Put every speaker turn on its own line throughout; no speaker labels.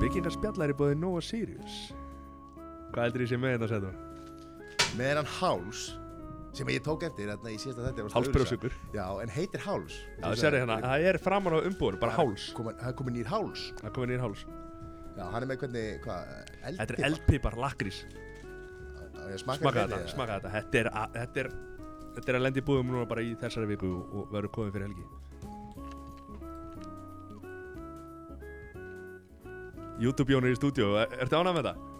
Byggingar spjallar er búið Nova Sirius Hvað heldur ég sé með hérna, þetta sætum?
með hennan háls sem ég tók eftir þarna í síðasta þetta
Hálsbrjósugur.
já, en heitir háls
Já, það sér hérna, það er framan á umbúður, bara háls
Komin- það er komin nýr háls
Það komið nýr háls
já, hann er með hvernig, hvað, eldið
Þetta er eldpipar, lakrís
smaka
Smaka þetta, smaka þetta Þetta er, að- þetta er, þetta er að lendi búðum núna bara í þessari viku og, og verður komið fyrir helgi YouTube-jónir í stúdíu, er, ertu ánað með þetta?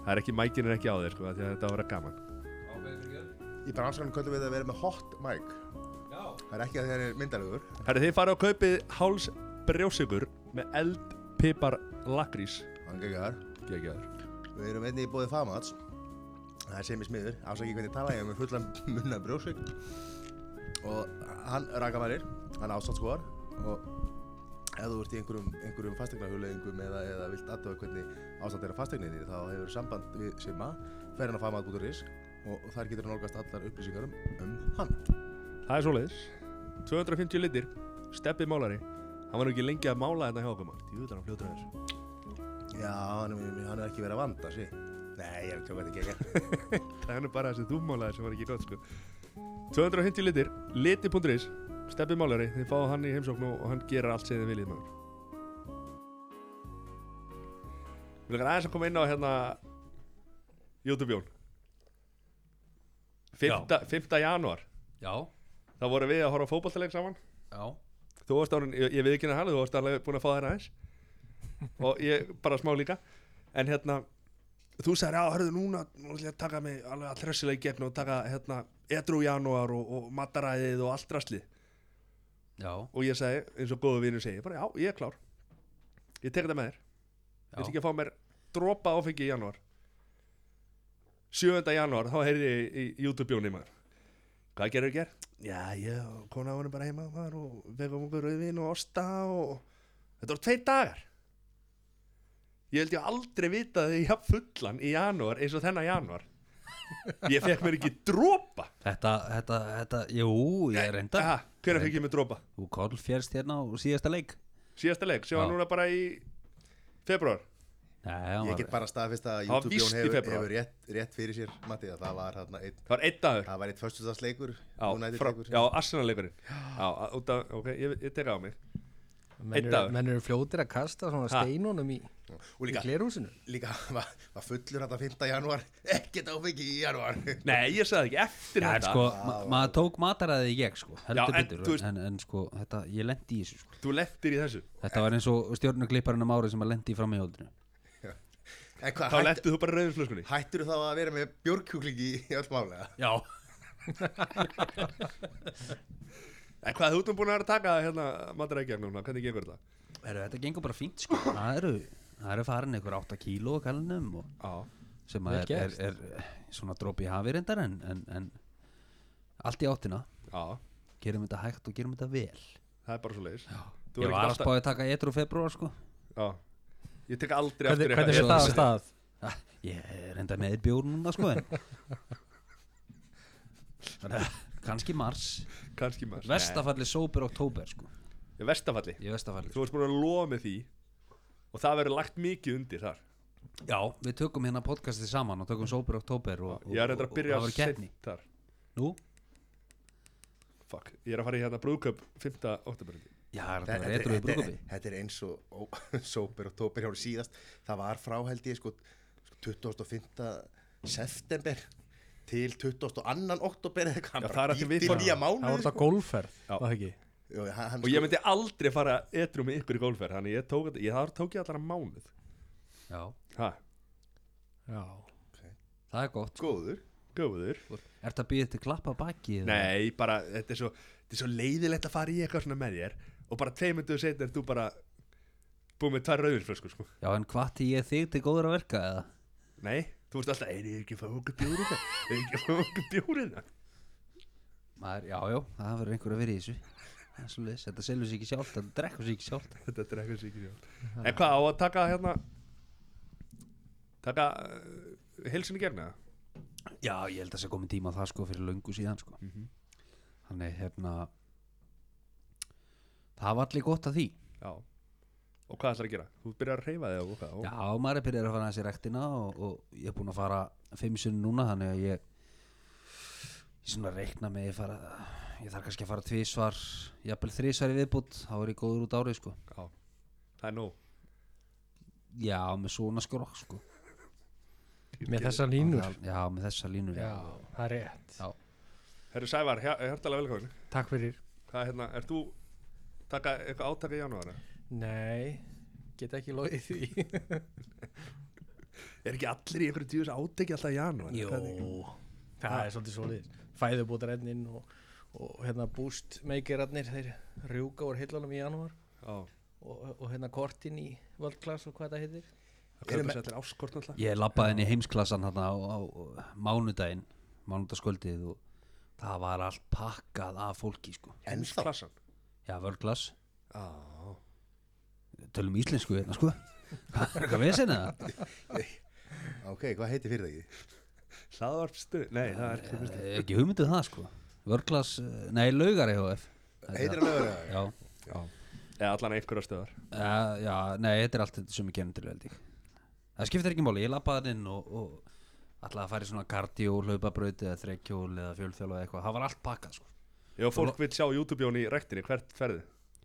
Það er ekki, mækin er ekki á þér sko, af því að þetta var að vera gaman
í bransanum kvöldum við að vera með hot mic það er ekki að það er myndalugur
Herri, þið farið á kaupið háls brjósigur með eldpipar lakrís
hann geggar
Gekkjaður
Við erum einnig í bóði Famats Það er sem í smiður, afsakið hvernig tala ég er með fullan munna brjósug Og hann rakamærir, hann ástandskoðar Og ef þú ert í einhverjum, einhverjum fastegnarhugleðingum eða, eða vilt aðtöfa hvernig ástand er á fastegninni Þá hefur samband við Sima, fer hann á famat.is Og þar getur hann orgast allar upplýsingar um, um hann
Það er svoleiðis 250 litir, steppið málari Hann var nú ekki lengi að mála þetta hjá okkur mann Jú, þannig að fljóta þessu
Já, hann, er- hann er ekki verið að vanda, sí Nei, ég er ekki að hvernig geggar
Það er bara þessi dúmálaði sem var ekki gott sko 250 litir, liti.is Steppið málari, þið fáðu hann í heimsókn og og hann gerir allt sem þið viljið maður Við langar aðeins að koma inn á hérna YouTube-jón 5. 5. janúar
Já,
þá vorum við að horfa á fótballtaleik saman
já,
þú varst árið, ég, ég við ekki hana, þú varst alveg búin að fá þér aðeins og ég bara smá líka en hérna, þú sagðir já, hörðu núna, nú ætlum ég að taka mig alveg að þrössilega í gegn og taka hérna edru janúar og, og mataræðið og allt drasli
já,
og ég sagði, eins og góðu vinur segi, bara já, ég er klár ég tek þetta með þér, ég ætlum
já.
ekki að fá mér dropa áfengi í janúar 7. janúar, þá heyrði ég í YouTube-jóni maður Hvað gerir þú ger? Já, ég og kona voru bara heima maður og vegum okkur rauðvin og osta og Þetta voru tveir dagar Ég held ég aldrei vita því jafn fullan í janúar eins og þennan janúar Ég fekk mér ekki dropa
Þetta, þetta, þetta, jú, ég reynda
Aha, Hvenær fekk ég mér dropa?
Þú koll fjörst hérna á síðasta leik
Síðasta leik, sem var
Já.
núna bara í februar
Nei, hann
Ég
var
get bara staðfist að
Það var
YouTube Jón
víst í
hefur,
febrúar.
hefur rétt, rétt fyrir sér Matti, að það var þarna einn
Það var einn dagur
Það var eitt föstudagsleikur
Já, frá,
United-leikur.
já Arsenal-leikurinn Já, út af, ok, ég, ég teka á mig
menn
Einn
eru,
dagur.
menn eru fljótir að kasta svona
Ha.
steinunum í,
Og
í
líka,
glerúsinu
líka var, var fullur þetta 5. janúar Ekkert áfengi í janúar
Nei, ég sagði ekki eftir
Já, en
þetta
sko, ma- maður tók mataræði í gegn, sko Heldur
Já, en þú
betur,
veist-
en, en sko, þetta, ég lendi í þessu, sko
Þú leftir í þessu
Þetta var eins og stjórnuklipparinn um árið sem að lendi í framhjóldinu
En hvað,
Þá
hætt,
leftið þú bara rauðinflöskunni
hættur þá að vera með björkjúkling í í öll málega?
Já
En hvað, þú ert nú búin að vera að taka hérna matarækjagn núna, hvernig gengur þetta?
Heru, Þetta gengur bara fínt, sko Það eru, það eru farin ykkur 8 kíló á kallinum og
Já
sem
Vel
að er, er,
gert.
er eh, svona dropi í hafi reyndar en, en, en allt í áttina
Já,
gerum þetta hægt og gerum þetta vel
það er bara svo leiðis
Ég var að spáði að taka etru februar sko
Já, ég tek aldrei eftir
Hvernig,
Svo-
hvernig er það að
svo-
stað?
Ah, Ég er enda með einn bjór núna sko en Þannig að kannski mars
Kanski maður
Vestafalli sópir oktober sko
Nei, Vestafalli
Í vestafalli
Þú varst búin að lofa með því Og það verður lagt mikið undir þar
Já, við tökum hérna podcastið saman og tökum sópir oktober og, og,
Ég er reyndar
og-
að byrja
og það
að
verður keppni
seint þar
Nú?
Fuck, ég er að fara í hérna brúðköp 5. oktober
Já, það
Þetta-
er þetta
þetta-
etru í
þetta-
brúkupi
Þetta er eins og ó, sóper og tóper hjá síðast Það var frá held ég sko, sko 25. september til 22. oktober eða
Já,
hvað
það er
bara
að því
ýtti
viðfang.
í nýja
Það
mánuði
var
sko.
þetta golfferð,
Já.
var það ekki?
Jú, hann- hann
Og ég
sko-
myndi aldrei fara edru með ykkur í gólferð Þannig ég tók, þetta- ég, þar tók ég allar að mánuð
Já,
Ha,
Já,
það er gott sko.
Góður
góður
Ertu að býja þetta klappa baki? eða?
Nei, bara, þetta er svo, þetta er svo leiðilegt að fara í eitthvað svona með þér og bara tveimönduðu setna er þú bara búið með tvær rauðinflösku, sko.
Já, en hvati ég þig til góður að verka eða?
Nei, þú veist alltaf, er ég ekki að fá okkur bjórið það? Er ég ekki að fá okkur bjórið það?
Maður, já, já, það verður einhver að vera í þessu Það er svolítið, Þetta selur sér ekki sjálft, þetta drekkur sér ekki sjálft
Þetta er eitthvað sikið hjá. En hvað, á að eh, taka hérna, taka uh, heilsinni gegna það?
Já, ég held að það sé komin tíma á það sko fyrir löngu síðan sko
Mhm.
Þannig hérna Það var allir gott að því
Já Og hvað ætlar að gera? Þú byrjar að reyfa þig og hvað? Og-
Já, maður er byrjar að fara að sér rektina og, og ég er búinn að fara fimm sinni núna þannig að ég ég svona reikna með ég fara ég þarf kannski að fara tvísvar jafnvel þrísvar í viðbútt, þá er ég góður út árið sko
Já Það er nóg
Já, með svona skrokk sko
Með þessa línur
Já, með þessa línur
Já, það er rétt
Herru Sævar, hér, hjartalega velkomin
Takk fyrir
Hvað hérna, ert þú taka eitthvað átaka í janúar? eða?
Nei, get ekki logið því
Er ekki allir í einhverju djúðis átaki alltaf í janúar?
Jó, það er svolítið svolítið Fæðubótarenninn og, og hérna boostmakerarnir þeir rjúka úr hillanum í janúar
Já
og, og hérna kortin í World Class og hvað það heitir
Það kaupir sér allir áskort alltaf
Ég labbaði inn í heimsklassan hérna á, á mánudaginn, mánudaskvöldið og það var allt pakkað af fólki sko.
Heimsklassan
Já, vörglas,
Já
tölum íslensku hérna sko. Hvað er eitthvað vesina?
Ok, hvað heitir fyrirtækið?
Hlaðvarpstuð Nei, það er ekki fyrst
Eh, Ekki hugmyndið það sko. Vörglas, nei, laugar E EHF.
Heitir það lögur
Já,
Eða allan einhverja stöðar
uh, já, nei, þetta er allt þetta sem ég kennum til veldig. Það skiptir ekki máli, ég labbaði inn og, og alltaf að fara í svona kardjól, hlaupabraut eða þrekkjól eða fjölþjól eða eitthvað. Það var allt pakkað sko.
Já, fólk vil sjá YouTube-jón í rektinni Hvert ferði?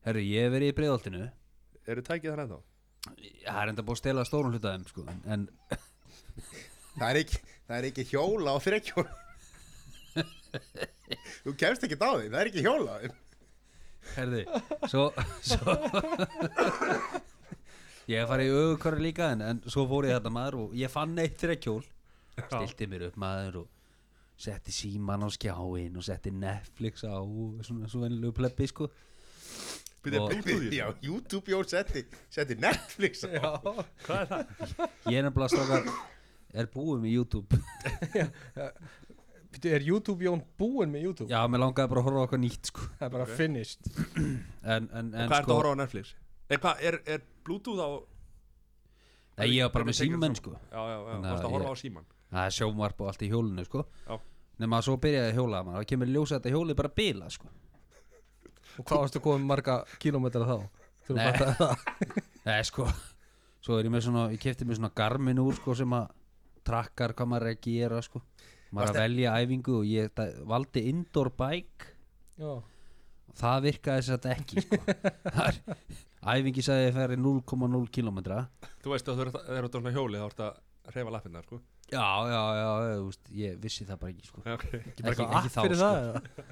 Herru, ég hef verið í breiðoltinu.
Eru tækið þar ennþá?
Það er enda búið að stela stórun hlutaðum sko. en- en
Það er ekki, það er ekki hjóla á þrekkjól Þú kemst ekki á því, það er ekki hjóla á því
herði svo, svo ég hef farið í öðukori líka en, en svo fór ég þetta maður og ég fann eitt þrekkjól stilti mér upp maður og setti síman á skjáin og setti Netflix á og svona svo venilegu plebbi sko
Býttu,
Og-
er Bluetooth í því?
Já, YouTube jól setti, setti Netflix á
Hvað er það?
ég er nefnilega strákar er búið með YouTube
Býttu, er YouTube Jón búinn með YouTube?
já, mér langaði bara að horfa á okkur nýtt sko
Það er bara finished
en, en, en
Hvað er það
sko,
að horfa á Netflix? Er, hvað, er, er Bluetooth á
nei, ég var bara
Hvernig tekur þú?
með síman sko
Já, já, já,
Þannig að
varst að horfa
ég-
á síman
það er sjómvarp og allt í hjólinu sko
Já.
nema að svo byrjaði að hjóla maður, þá kemur í ljós að þetta hjólið bara að bila sko
Og hvað varstu komið marga kílómetra þá? Þú
Nei.
fattar það
Nei, sko Svo er ég með svona, ég kefti mér svona garmin úr sko sem að trakkar hvað maður er að gera sko Maður er að velja æfingu og ég da, valdi indoor bike
Já,
og það virkaði þess að ekki sko Þar, Æfingi sagði ég færi 0,0 kilometra
Þú veist að þú ert- þegar þú ert á svona hjóli þá ert að reyfa lappirna sko.
Já, já, já, já, þú veist, ég vissi það bara ekki sko
okay.
Ekki, ekki, sko.
app fyrir það eða?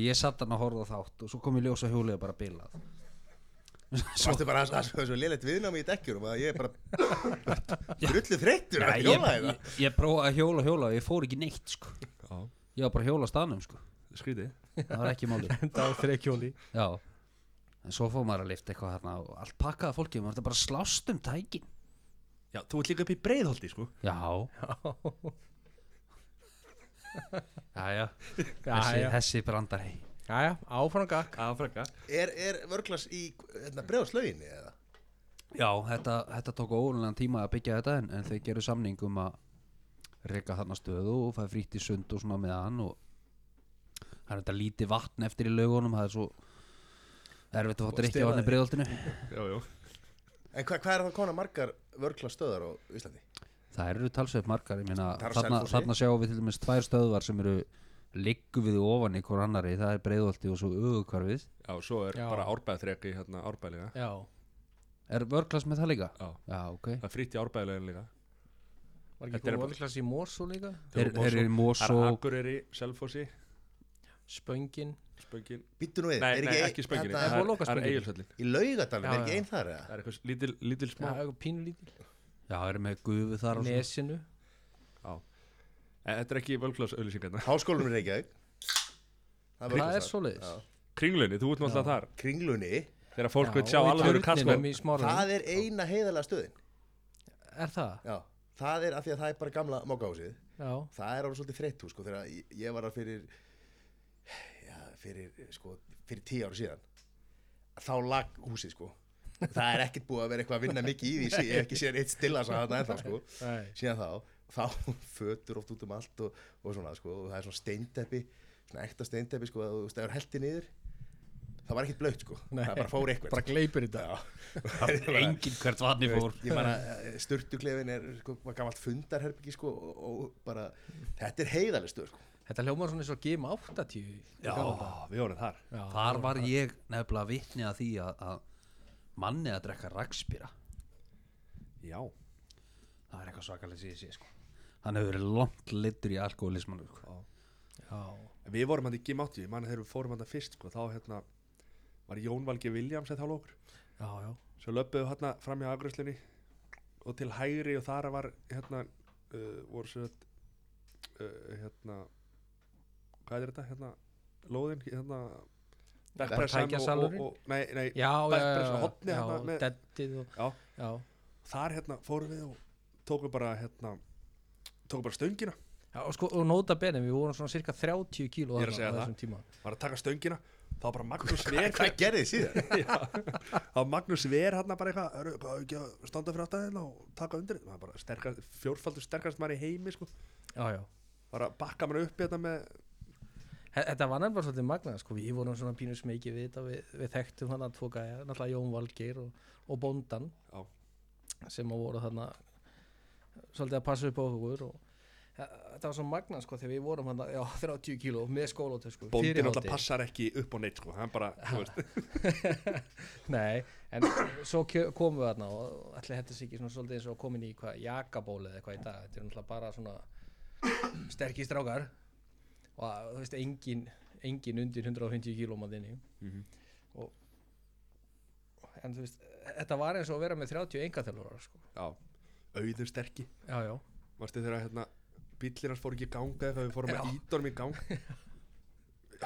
Ég satt hann að horfa á þátt og svo kom ég ljósa hjólið bara bilað
Svartu bara að það er svo lélegt viðnámi í dekkjunum að ég er bara drullu þreyttur að
Nei, ég,
hjóla í það
ég, ég prófaði að hjóla hjóla og ég fór ekki neitt sko
Já,
Ég var bara að hjóla á staðnum sko
skrítið
Það var ekki málið
Enda á þrekkjóli
Já En svo fór maður að lifta eitthvað hérna og allt pakkaða fólki og maður þetta bara að slást um tækin
Já, þú ert líka upp í breiðholti sko.
Já Jæja Þessi,
já.
þessi brandari
Jæja, áfram gakk
Já, frekka
Er, er vörglas í hérna, bregðslauginni eða?
Já, þetta, þetta tók ólega tíma að byggja þetta en, en þau geru samning um að reyka þarna stöðu og fæði frítt í sund og svona með hann og það er þetta lítið vatn eftir í laugunum það er svo erfitt að fá drikkja vatn í breiðoltinu
Já, já
En hva, hvað er það konar margar vörglas stöðar á Íslandi?
Það eru talsveit margar, ég meina
Það er á
þarna,
Selfossi.
þarna sjáum við til dæmis tvær stöðvar sem eru liggu við ofan í hver annari, það er breiðolti og svo öðukvarfið.
Já, svo er
Já.
bara árbæðþrek í hérna árbæðlega
Já
Er vörglas með það líka?
Já,
Já, ok.
það er fritt í árbæðlegin líka
Var
Þetta
ekki
er
komið
bara-
vörklass í Morsú líka?
Þeir
Mosó.
þeir eru í
Það
Mosó,
er Akureyri, Selfossi,
Spöngin
Spöngin
Býttu nú við,
Nei,
er
nei,
ekki,
ekki Spöngin
þarna-
Það er,
Loka
það er
Spönginni.
eigilsöllin
Í laugadalum,
Já,
er ekki
já.
einn þar eða?
Það er eitthvað lítil, lítil smá
Já, eitthvað pínu lítil
já, eru með gufu þar og svona.
Nesinu
En þetta er ekki hérna. völgflás auðlýsingarna
Háskólanum í Reykjavík
Það
vörglas
er
þar.
svoleiðis.
Já.
Kringlunni, þú ert náttúrulega þar
Kringlunni,
Þegar fólk vil
Já,
sjá
og í
alvöru
turninum
kastmenn
í smáranum
það er eina heiðalega stöðin
Er það?
Já, það er af því að það er bara gamla mókáhúsið
Já
Það er alveg svolítið þreytt hús sko þegar ég- ég var að fyrir já, fyrir sko fyrir tíu ára síðan þá lag húsið sko það er ekkert búið að vera eitthvað að vinna mikið í því sí- ég hef ekki séð eitt stilla sá þarna ennþá sko
Nei
síðan þá þá fötur oft út um allt og, og svona sko, og það er svona steindeppi svona ekta steindeppi sko, að þú veist, það er heldi niður það var ekkert blöitt sko,
Nei.
það bara fór eitthvað
bara gleipir þetta
Já.
enginn hvert vatni
Ég
fór
veist, ég meina, sturtuklefin er sko, var gammalt fundarherbyggi sko, og, og bara, þetta er heiðaleg stöð sko.
þetta hljómar svona eins og game 80 í
Já.
gamla daga.
Ó, Við vorum þar
já
þar var ég nefnilega vitni að því að, að manni að drekka rakspýra
Já,
það er eitthvað svakalega síðan síðan sko hann hefur verið langt litur í alkoholismann sko.
já
við vorum hann í Gim 80 Ég man að þegar við fórum hann fyrst sko, þá hérna var Jón Valgi Williams eða þá lókur
já, já,
Svo löpuðu hérna fram hjá afgröðslunni og til hægri og þar var hérna uh, voru sér uh, hérna hvað er þetta hérna lóðin hérna Bekkpressan og-
Tækjasalurinn?
og, og, nei, nei,
já,
Backpress á horni
já,
hérna með-
deadið og
Já.
já,
þar hérna fórum við og tókum bara hérna tókum bara stöngina
já og, sko, og nota benið, við vorum svona cirka 30 kíló
Ég er að
þarna
segja
á
það.
þessum tíma
var að taka stöngina þá var bara Magnús
hvað,
Ver
hvað gerði þið síðan?
Já. þá var Magnús Ver hérna bara eitthvað "Hörru, hvað á ekki að standa fyrir aftan hérna og taka undir þetta?" maður bara sterkast fjórfaldur sterkast maður í heimi sko
já, já
bara bakka maður upp hérna með
Þe- Þetta var nefnilega svolítið magnað, sko, við vorum svona pínu smekið við þetta, við, við þekktum hann að tvo gæja, náttúrulega Jón Valgeir og, og Bóndan
Já.
sem að voru þarna svolítið að passa upp á okkur og þe- þetta var svo magnað, sko, þegar við vorum hann já, 30 kíló með skólatösku
bóndin
fyrir
alltaf
hádegi.
passar ekki upp á neitt sko hann bara þú veist
Nei, en svo kjö- komum við þarna og ætli þetta sé ekki svona svolítið eins og komin í hvað, jakabóli eða eitthvað í dag þetta er náttúrulega bara svona sterkir strákar og þú veist, engin, engin undir 150 kílum að þinni
Mhm.
og en þú veist, þetta var eins og að vera með 30 engatjálfara sko.
já, auður sterki
Já, já,
varstu þegar hérna bíllinn hans fór ekki í ganga þegar við fórum
Já.
að íta honum í gang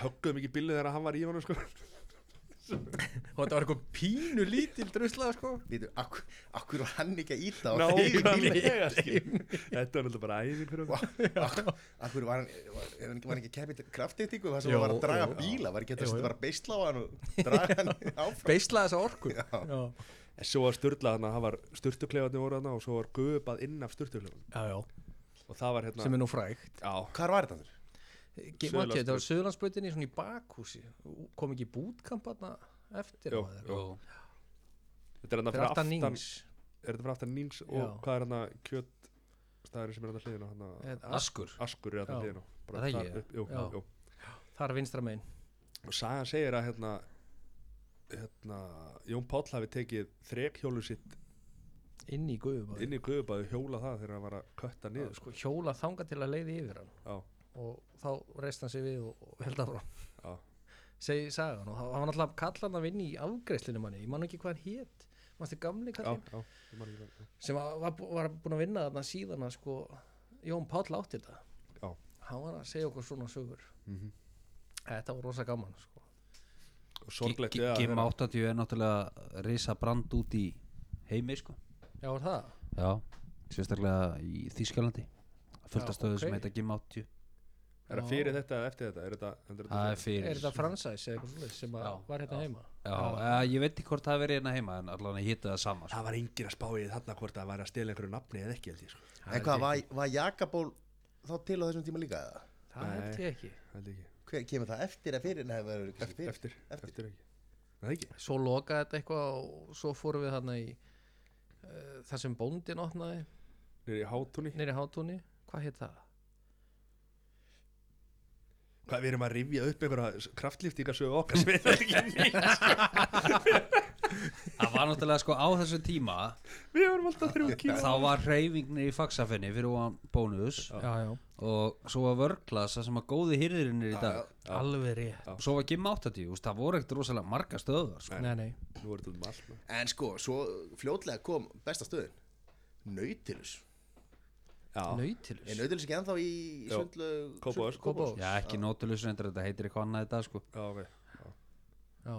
högguðum ekki bílið þegar hann var í honum sko
og þetta var eitthvað pínu lítil drusla sko.
Vítu, akkur, akkur var hann ekki að íta á
nákvæmlega skilur. þetta var náttúrulega bara æfing fyrir okkur
Akkur, akkur var hann, var, var hann ekki- var hann ekki að keppi kraftýttingu þar sem
Jó,
hann var að draga
jú.
bíla var ekki að
Jú,
þetta
jú.
bara beisla á hann og draga hann áfram
beisla þessa orku
Já.
já,
en svo var styrla þarna, það var styrtuklefarnir voru þarna og svo var guðbað inn af styrtuklefarnir
já, já.
og það var hérna
sem er nú frægt
já,
Hvar var þetta? aftur?
Matti, þetta var Söðurlandsbrautinni svona í bakhúsi kom ekki bútkamp þarna eftir
Jú,
á þeir?
jú. þetta er hérna
fyrir
fyrir
aftan
aftan
nýns
er þetta fyrir aftan nýns og
Já.
hvað er hérna kjött staðurinn sem er hérna hliðina hérna,
askur
askur er hérna
Já.
hliðina bara
Er það
þar
ekki?
upp, jú,
Já.
jú.
þar vinstra megin
og sagan segir að hérna, hérna, Jón Páll hafi tekið þrephjólu sitt
inn í guðubæð
inn í guðubæðu hjóla það þegar hann var að kötta
guðubæð
niður sko.
sko, hjóla þanga til að leiði yfir hann
já,
og þá reist hann sig við og, og held áfram
já,
segi sagan og það það var náttúrulega kallan að vinna í afgreiðslinu manni ég man nú ekki hvað hann hét mannstu gamli
já,
kallin
já, ég man ekki það.
sem var, var, bú- var búin að vinna þarna síðan að sko Jón Páll átti þetta
Já.
hann var að segja okkur svona sögur
Mhm.
þetta var rosa gaman sko.
og sorglegt er að
Gim
þegar-
80 er náttúrulega risa brand út í heimi sko
já var það
já, sérstaklega í Þýskalandi fullt
Já,
af stöðu sem
ok.
heita Gim 80
er það fyrir þetta eða eftir þetta er þetta, er þetta
það er fyrir
Er þetta fransæs eða eitthvað svolítið sem að
Já,
var hérna heima?
já, eh, ég veit ekki hvort það hefur verið hérna heima en allan að hitta það sama sko.
það var engin að spá í þarna hvort að væri að stela einhverju nafni eða ekki held ég sko.
En hvað, var, var Jakaból þá til á þessum tíma líka? eða?
Það
Nei.
held ég ekki.
held ég
Hver, kemur það eftir að fyrir? Nei, það verður kannski
ekki
fyrir
eftir,
Eftir.
eftir, eftir ekki Nei, ekki.
Svo lokaði þetta eitthvað og svo fórum við þarna í uh, það sem bóndin opnaði
Niður í hátunni
nýri hátúni. Hvað hétt það?
Hvað við erum að rifja upp einhverja kraftlíftíka sögu okkar sem við ekki nýtt
það var náttúrulega sko á þessu tíma
Við erum alltaf þrjú kíl
þá var reyfingni í faxafinni fyrir ofan bónus
Já, já.
og svo var vörglasa sem að góði hýrðirinn er í dag
Alveg rétt.
Já.
og svo var Gim 80, úst, það voru ekkert rosalega marga stöðar sko.
Nei, nei.
Nú er þetta um allt maður.
En sko, svo fljótlega kom besta stöðin Nautilus
Já,
Er
Nautilus.
Nautilus ekki ennþá í
Já.
sundlög?
Kópavogs.
Kópavogs.
já ekki nótulus reyndar þetta heitir eitthvað annað í dag sko.
já, ok
Já.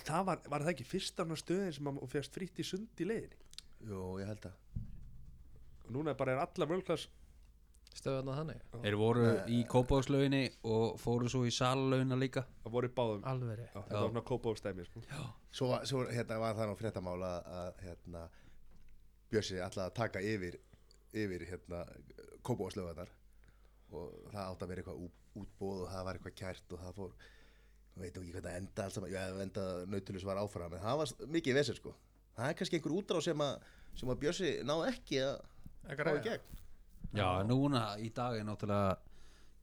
En það var, var það ekki fyrsta svona stöðin sem maður fegst fritt í sund í leiðinni
Jú, ég held að
og núna bara er alla völklass
Stöðan að þannig.
þeir voru í kópáðslauginni og fóru svo í salalaugina líka
að voru í báðum já,
Alveg rétt.
þetta var svona kópavogstæmi sko.
Svo, var, svo hérna, var það nú fréttamála að hérna, Björsi ætlaði að taka yfir yfir hérna kópáðslöfunar og það átt að vera eitthvað ú- útboð og það var eitthvað kært og það fór veit ekki hvað það enda alls saman, já, það enda nautilus var áfram en það var s- mikið vesir sko það er kannski einhver útráð sem að sem að Bjössi náði ekki að
Ekki
fá í
ræða.
gegn
Já, en núna í dag er náttúrulega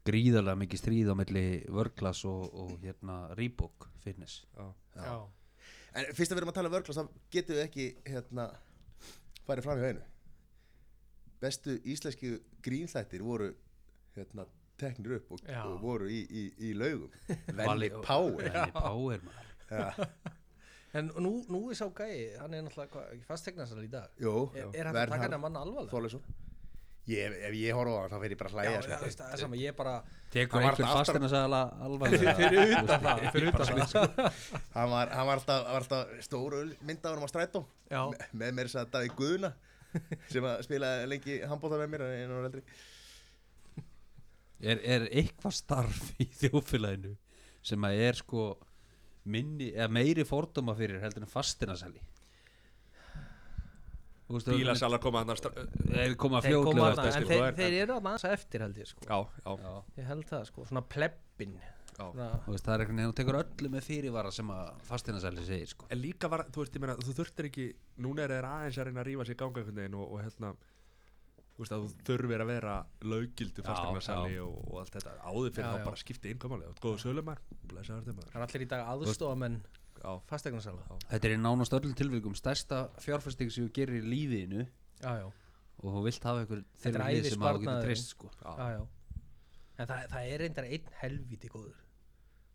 gríðarlega mikið stríð á milli vörglas og, og hérna Reebok fitness
Já.
en fyrst að við erum að tala um vörglas þá getum við ekki hérna farið fram hjá einu bestu íslenski grínþættir voru hérna teknir upp og,
Já.
og voru í, í, í laugum Venli
Valli
Power
Valley Power maður.
En nú, nú er sá gæi, hann er náttúrulega hvað, ekki fastegna sér í dag.
Jú,
Er, er hann að taka hennar manna alvarlega?
Þorleifsson ég, Ef ég horfa á hann þá fer ég bara að
Já,
hlæja
já,
sko.
veist, það er sama, ég bara,
Tekur
Hann var
einhver
alltaf-
fastin að segja alvarlega
fyrir utan það, fyrir utan það, sko.
hann, var, hann var alltaf, var alltaf stóru mynd af hann á strætó
Já.
Me, með mér þess að Davík Guðuna sem að spilaði lengi handbóta með mér en hann var eldri
er, er eitthvað starf í þjófélaginu sem að er sko minni, eða meiri fordóma fyrir heldur en fastinarsæli
Bílasala koma hann að stra...
Þeir koma
Þeir koma
fljóðlega
þarna, en
sko,
þeir,
það er
þeir eru að manns eftir held ég sko
Já, já,
Já,
Ég held það sko, svona plebbin
já.
Svona-
þú veist, það er einhvern veginn, hún tekur öllu með fyrirvara sem að fastinarsæli segir sko
En líka var, þú veist, ég meina, þú þurftir ekki Núna er þeir aðeins að reyna að rífa sér ganga einhvern veginn og, og hérna Þú veist að þú þurfir að vera löggildu
Já,
fasteignarsali
já.
og, og allt þetta áður fyrir
Já,
þá
já.
bara skipti innkomáli og góðu sölumar, blessaður þeim maður
Það er allir í dag aðstofamenn
Já,
fastegnarsala
Þetta er í nánast öllum tilvirkum stærsta fjárfæsting sem þú gerir í lífiðinu
Já, já,
og þú vilt hafa einhver
Þetta er
fyrir lið sem að þú
ævisparnaðurinn.
getur treyst sko
já,
já, já En það, það er reyndar einn helvíti góður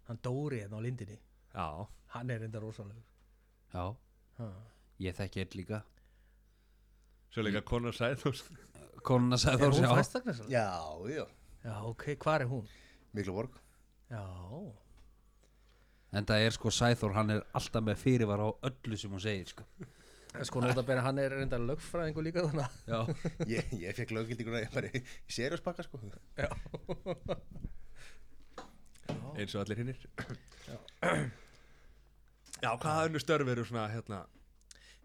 Hann Dóri hérna á lindinni
já,
Hann er reyndar rosalegur
Já,
Ha.
ég þekki eitt líka
svo leika konar sæðus
Konuna
Er
sagði
hún
þá sjá
fastegnarsala?
Já, já,
Já, ok, hvar er hún?
miklu borg
Já,
En það er sko Sæþór, hann er alltaf með fyrirvara á öllu sem hún segir sko
En sko náttúrulega hann er reyndar lögfræðingu líka þannig að-
Já
Ég, ég fekk löggildinguna ég bara í seriðspakka sko
Já,
eins og allir hinnir Já, hvaða önnu störf eru svona hérna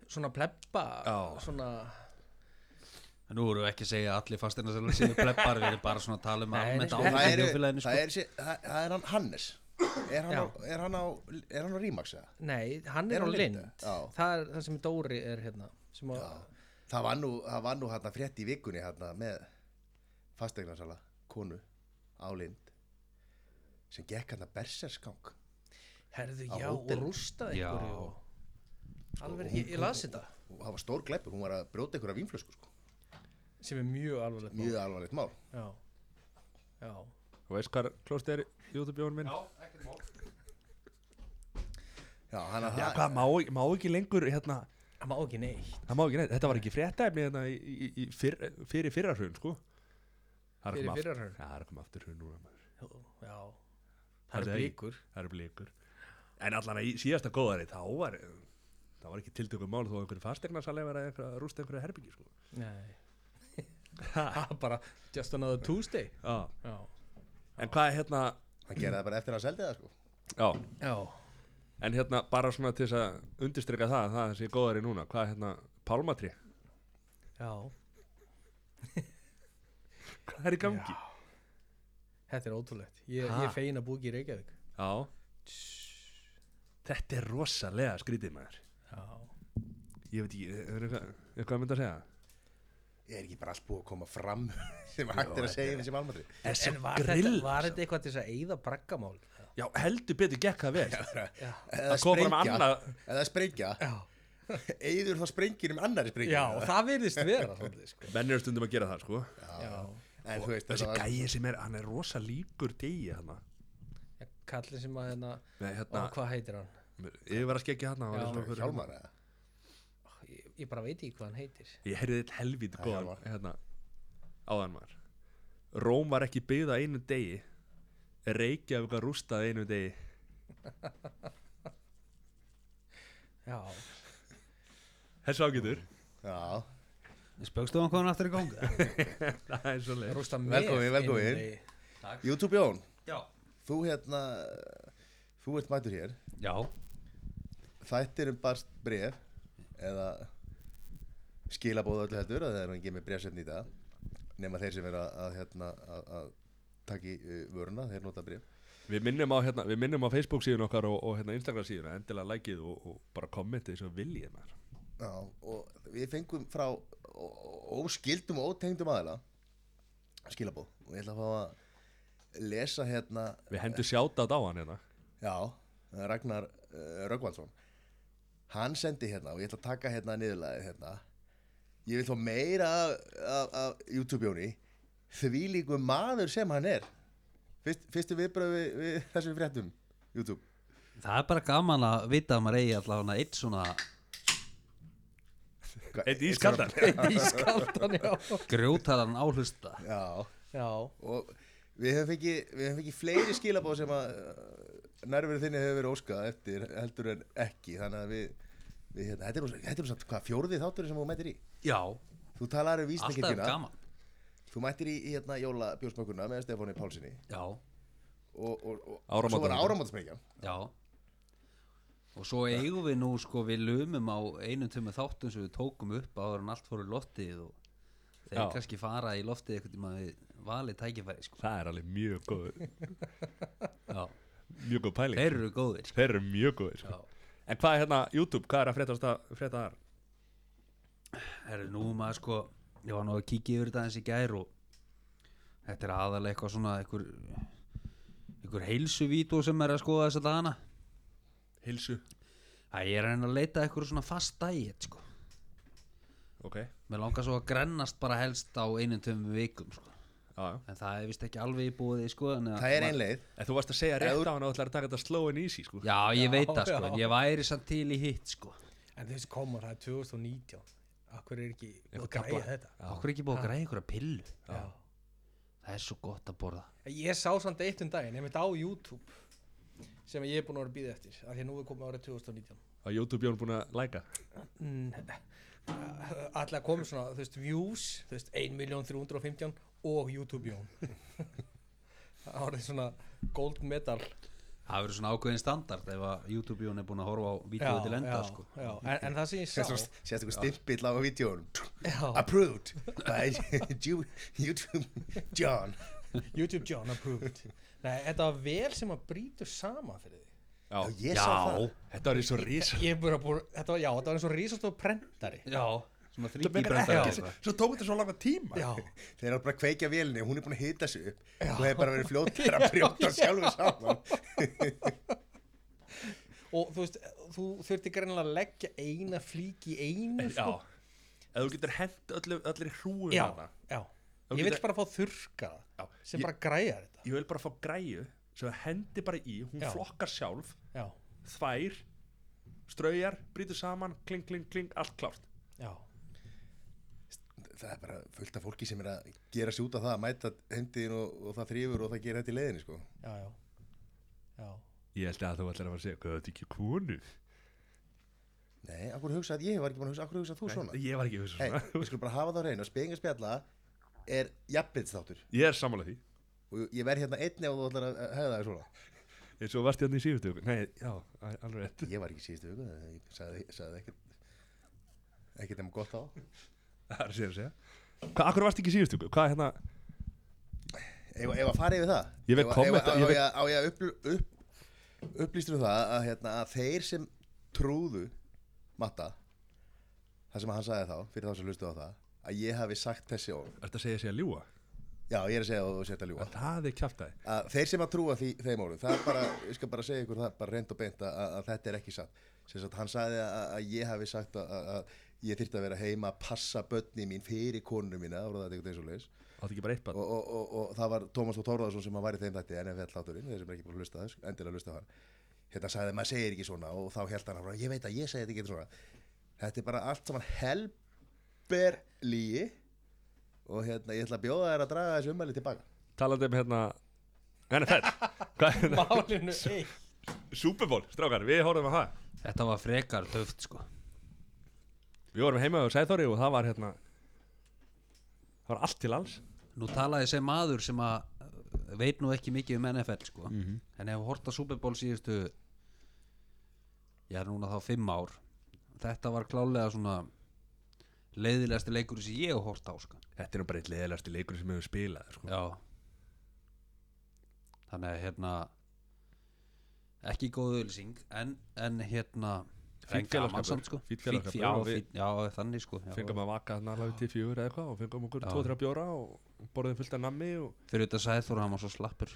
svona plebba
Já.
Svona,
Nú erum við ekki að segja að allir fastinarsælur séu pleppar, við erum bara svona að tala um
Nei, nei,
almennt
sko.
Það
áfengi
er,
þjófélaginu sko.
það er, sé- það, það er hann Hannes Er hann,
Já.
á, er hann á er hann á Rímax eða?
nei, hann er,
Er
á
hún
lind
Lind? Já.
Það er það sem Dóri er hérna sem að,
Það var nú, það var nú hérna frétt í vikunni hérna með fastegnarsala konu á Lind sem gekk hérna berserskang
Herðu,
Á
já, og
hótelinu.
rústa
Já.
einhverju og... Alveg, ég, ég las þetta
og það var stór glæpur, hún var að brjóta einhverja vínflösku sko.
sem er mjög alvarlegt mál.
mjög alvarlegt mál
Já, já
Þú veist hvað klóst er YouTube-bjónum minn? Já,
Já, hann að það
hvað, má, má ekki lengur hérna
Það má ekki neitt
Það má ekki neitt, þetta var ekki fréttaefni hérna í, í, í fyr, fyrir fyrra hrun, sko Það er að
Fyrir
koma aftur-
fyrra hrun?
Já, það er að koma aftur hrun núna maður.
Já, það
Það
er
er ekki.
blíkur
Það er blíkur En allan að í síðasta góðari, þá var Það var ekki tiltökum mál þó að einhverju fastegnarsalega verið einhver að rústa einhverju herbyggi, sko
Nei Það er bara just another Tuesday
Já,
Já,
en hvað er hérna
hann gerði það bara eftir að hann seldi það sko.
Já,
já
en hérna bara svona til þess að undirstrika það, það sé góðari núna Hvað er hérna, pálmatri?
Já,
Hvað er í gangi? Já,
þetta er ótrúlegt Ég,
Ha?
ég er fegin að búi ekki í Reykjavík
Þetta er rosalega skrítið maður
Já,
Ég veit ekki, er eitthvað, eitthvað mynd að segja?
ég er ekki bara allt búið að koma fram sem hægt er að segja í þessum almadri
En
En var þetta, var þetta eitthvað til þess að eyða braggamál?
Já, heldur betur gekk það vel
Já,
eða
kom fram annað-
eða sprengja
já,
eigður þá sprengir um annari sprengja
já það virðist vera svolítið, sko.
Menn eru stundum að gera það, sko
Já,
en þú veist
Þessi
þetta var
gæi sem er, hann er rosa líkur degi hann
já Kallin sem að hérna
Nei, hérna,
Og hvað heitir hann?
ég var að skegja hann
Já.
hjálmar eða
Ég, ég bara veit ekki hvað hann heitir
Ég heyrði eitt helvítið
Já,
góðan
Hjálmar.
hérna, áðan maður Róm var ekki byggð á einu degi Reykjavík var rústað á einu degi
Já,
Þessu ágætur
já
Spaukstofan komin aftur í ganga
Það er svo leið
rústa mér
Velkomin, velkomin.
inn í-
YouTube Jón
Já
þú hérna þú ert mætur hér
Já,
þættir um barst bref eða skilabóð öllu heldur að það er hann gefið brefsefni í dag nema þeir sem vera að, hérna, að, að taki uh, vöruna, þeir nota bref
Við minnum á, hérna, við minnum á Facebook síðan okkar og, og hérna, Instagram síðuna, endilega likeið og, og bara kommentið eins og viljið maður.
Já, og við fengum frá ó- ó- óskyldum og ótengdum aðeila skilabóð og ég ætla að fá að lesa hérna
Við hendum sjátað á hann hérna.
já, eh, Ragnar uh, Röggvaldsson hann sendi hérna og ég ætla að taka hérna niðurlega hérna ég vil þá meira af, af, af YouTube-jóni því líku maður sem hann er Fyrst, fyrstu viðbröð við, við þessum fréttum YouTube
Það er bara gaman að vita að maður eigi allavega eitt svona
Hva-
Eitt ískaldan.
Ískaldan, já
grjótaran áhlusta
já
Já,
og við höfum fengið, við höfum fengið fleiri skilabóð sem að nærverið þinni hefur verið óskað eftir heldur en ekki þannig að við, við hérna, þetta er nú- þetta er nú samt hvað fjórði þáttur sem þú mættir í
Já,
þú talar um
alltaf er
vísningirkina
gaman
þú mættir í í, hérna jólabjórsmakuna með Stefáni Pálsini
Já,
og, og, og, og
Áramóta-
svo var áramótsmekjan
já Og svo eigum við nú sko við lumum á einum tömu þáttum sem við tókum upp áður en allt fóru í loftið og þeir
Já.
kannski fara í loftið eitthvað tíma við valið tækifæri sko
Það er alveg mjög góð,
Já,
mjög góð pæling.
þeir eru góðir sko.
Þeir eru mjög góðir.
Já.
sko. En hvað er hérna YouTube, hvað er að fréttast að frétta þar?
Herru, nú maður sko ég var nú að kíkja yfir þetta eins í gær og þetta er aðalega eitthvað svona einhver, einhver heilsuvító sem er að skoða þess að dana
Hilsu.
Það ég er að reyna að leita að einhverju svona fast dæið sko
Ok, já,
Mér langar svo að grennast bara helst á einum tömum vikum sko.
já.
En það er vist ekki alveg í búið sko, en að-
það er einleið
En þú varst að segja rétt á hann og þú ætlar að taka þetta slow and easy, sko.
Já, ég veit
Já,
það sko,
já.
en ég væri samt til í hitt sko
en þessi komar, það er 2019 Akkur er ekki búið að
Eitthvað
græja
kafla.
þetta
Okkur ekki búið að græða einhverja pillu
Já.
Það er svo gott að borða
Ég sá samt eitt um daginn, einmitt á YouTube sem ég er búin að vera að býða eftir af því að nú er komið árið 2019
Að YouTube Jón búin að læka.
Alla komið svona, þú veist, views þú veist, 1.315 og YouTube jón Það var svona gold medal
Það verður svona ákveðin standard ef að YouTube-jón er búin að horfa á vídeoðu til enda
já,
sko
já. En, en það sem ég sá
sést ykkur stimpill á vídjónum
já,
approved by Ju- YouTube John
YouTube John approved Nei, þetta var vel sem að brýtur sama fyrir því
Já,
og ég sá það
þetta var eins og risa.
Ég er bara búin, þetta var, já, þetta var eins og risastóð prentari
Já, svona
Þetta meikar
þrýkýbrenda
ekki- Svo tók þetta svo langa tíma.
Já,
Þeir eru bara að kveikja vélni, hún er búin að hita sig upp og hefur bara verið fljóttar að brjóta sjálfur saman.
og þú veist, þú þurfti greinilega að leggja eina flík í einu sko.
Já. Ef þú getur hent öllu, öllu hrúum
já,
þarna.
já.
Þá
Ég vil
getur-
bara fá þurrka
Já,
sem
ég-
bara græjar þetta
Ég vil bara fá græju sem það hendi bara í, hún
Já.
flokkar sjálf,
Já,
þvær, straujar, brýtur saman, kling, kling, kling, allt klárt.
já,
Það er bara fullt af fólki sem er að gera sig út af það að mæta heimdiðin og, og það þrýfur og það gera þetta í leiðinni, sko.
já, já Já,
Ég held að þú ætlar að fara að segja, hvað þetta ekki konu?
Nei, akkur hugsa að ég var ekki búin að hugsa, akkur hugsa að þú svona.
Ég var ekki að hugsa
Hei,
svona.
við skulum bara hafa það á reyna, speginga spjalla er jafnbyrðsþáttur
Ég er sammála því.
og ég verð hérna einn ef þú ætlar að hefða það svona.
Eins og varst ég hann í síðustu viku. Nei, já, alveg rétt.
Ég var ekki í síðustu viku, þannig að ég sagði, sagði ekkert, ekkert nema gott á.
Það er að segja að segja. Hvað, akkur varst ekki í síðustu viku? Hvað hérna?
Ef, ef að fara yfir það
Ég veit
Ef- ef-
kommenta-
á-
ég
Á
veit-
ég að- á ég að upp, upp, upplýstur um það að, hérna, að þeir sem trúðu Matta Það sem hann sagði þá, fyrir þá sem hlustu á það Að ég hafi sagt þessi orð
Ertu að segja sig að ljúa?
Já, ég er að segja og setja ljúa
Það er kjáftæði.
að Þeir sem að trúa því, þeim orðum Það er bara, ég skal bara segja ykkur það Bara reynd og beint að, að, að þetta er ekki satt Sem sagt, hann sagði að, að ég hafi sagt að, að, að Ég þyrfti að vera heima að passa börni mín fyrir konunum mína orðaði þetta eitthvað eins og leis
Áttu ekki bara eitt barn?
og, og, og, og það var Tómas Þór Þórðarsson sem var í þeim þætti NFL hláturinn, þeir sem er ekki búin að hlusta þess endilega hlusta á hann hérna sagði maður segir ekki svona og þá held hann áfram, ég veit að ég segi þetta ekki svona þetta er bara allt saman helber líi og hérna ég ætla að bjóða þær að draga þessu umæli tilbaka
Talandi um hérna... NFL. Hvað er hérna?
málinu eitt
Super Bowl, strákar, við horfum að það
Þetta var frekar töft sko
Við vorum heima á Sæþóri og það var hérna Það var allt til alls
Nú talaði sem maður sem að uh, veit nú ekki mikið um NFL sko
Mhm.
en ef horta Super Bowl síðustu já núna þá fimm ár þetta var klálega svona leiðilegasti leikur sem ég hef hórt á sko.
Þetta er nú bara eitt leðilegasti leikur sem hefur spilað sko.
Já Þannig að hérna ekki góð auðlýsing en, en hérna
Fínn
en gaman
félagsskapur,
samt, sko.
fínn félagsskapur,
Fínn- já,
og við-
fínn- já, þannig sko já.
Fengum að vaka þarna alveg til fjögur eða eitthvað og fengum okkur
Já.
2-3 bjóra og borðum fullt af nammi og
Fyrir þetta sæður hann var svo slappur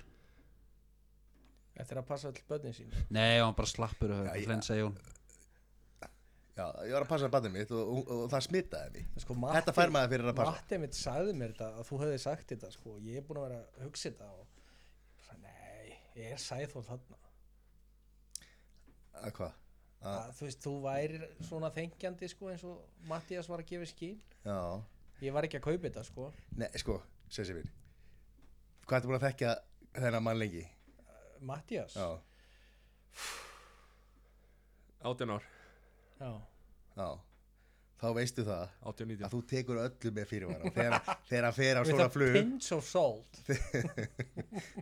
Eftir að passa all börnin sín
Nei, hann var bara slappur
Já, já.
Flensa Jón
Já, ég var að passa bannið mitt og, og, og það smitaði mig
sko,
Þetta fær maður fyrir að passa
Matti mitt sagði mér þetta að þú hefði sagt þetta sko, og ég er búin að vera að hugsa þetta og ég bara, nei, ég er sæðhól þarna
Að Hvað? Að-
að, þú veist, þú værir svona þengjandi sko, eins og Mattias var að gefa skín
Já
ég var ekki að kaupa þetta sko
Nei, sko, sessi mín Hvað ertu búin að þekka þennan mann lengi?
Mattias
Já,
18 ár,
Já.
já Þá veistu það
18-19
að þú tekur öllu með fyrirvara og þegar, þegar að fer á
With
svona
a
flug
pinch of salt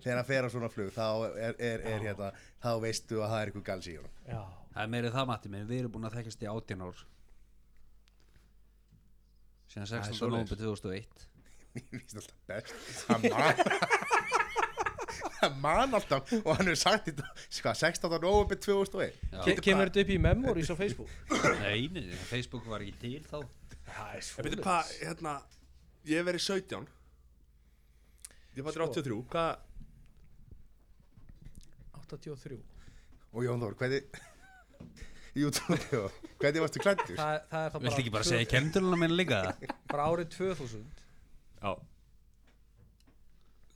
þegar að fer á svona flug þá, er, er, er, hérna, þá veistu að það er eitthvað gals í honum
Já.
Það er meirið það Matti minn, við erum búin að þekkjast í 18 ár Síðan
er
16.
svoleiðis.
november 2001
Mér finnst alltaf best Hann man Hann man alltaf og hann hefur sagt þetta sko, 16. november 2001
Ke kemur þetta upp í memories á Facebook
Nei, nei, nei, Facebook var ekki til þá
það er
Ég veit
svoleiðis.
hvað, hérna Ég hef verið 17 Ég fættir
Sko.
83 Hvað,
83
og Jón Þór, hvernig YouTube, já, hvernig varstu klættur?
það, það er þá
Viltu ekki bara
tvö-
segja kemdurluna minn líka það?
bara árið 2000
já,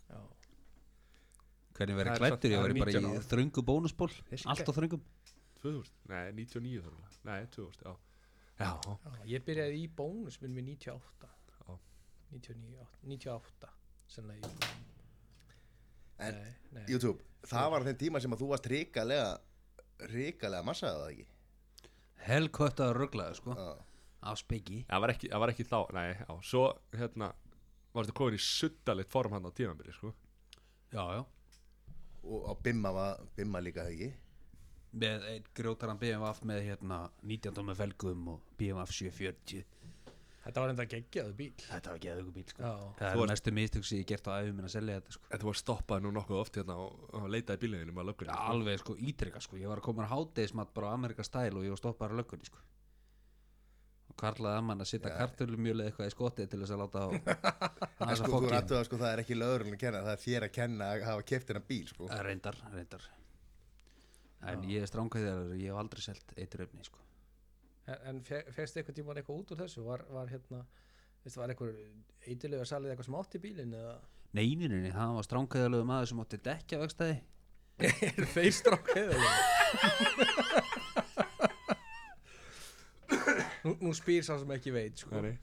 Já.
Hvernig
Það
verið
er
klættur, ég
samt- það
verið
er
bara
19
í
ára.
þröngu bónusból
Þessi
Allt á þröngum
2000, nei 99 þarf Nei, 2000, já Já,
Já, ég byrjaði í bónus minnum í 98
Já.
99, 98 sennilega í bónus.
En-
Nei, nei.
YouTube, það var þeim tíma sem að þú varst ríkalega ríkalega massaði það ekki
Helkött að rugglaðu sko
Já,
Af speggi
það var ekki, það var ekki þá Nei, já, svo, hérna Varstu komin í suttalegt form hann á tímambyrði, sko
Já, já
og, og Bimma var Bimma líka það ekki
Með einn grjótaran BMF með hérna 19 tómi felgum og BMF 740
þetta var enda geggjaðu bíl
Þetta var ekki aðeins bíl sko
Já.
Það
Þú
er
varst-
mestu mistök sem ég hef gert á æfum minn að selja þetta sko
En þú var stoppað nú nokkuð oft hérna og, og leitaði bílinu um að löggunni sko.
Alveg sko ítrykka sko Ég var að koma að hátegismat bara á Amerika stæl og ég var stoppaður á löggunni sko Og karlaði að mann að sitta kartölumjölu eitthvað í skottið til þess að láta á
en
Það er
sko,
að
þú
fokki
rættu að sko, það er ekki lögurinn að kenna það er þér að kenna að hafa keft hennar bíl sko.
Eh, Reyndar, reyndar En ég er strángæðar Ég hef aldrei selt eitur öfni sko
en, en fegst eitthvað tíma eitthvað út úr þessu var, var hérna veistu, var eitthvað eitilega salið eitthvað smátt í bílinn eða
Nei, nei, nei, nei, það var strángæðarlegu maður sem átti dekja vegstæði
eru þeir strák eða nú, nú spýr sá sem ekki veit sko.
Nei, nei.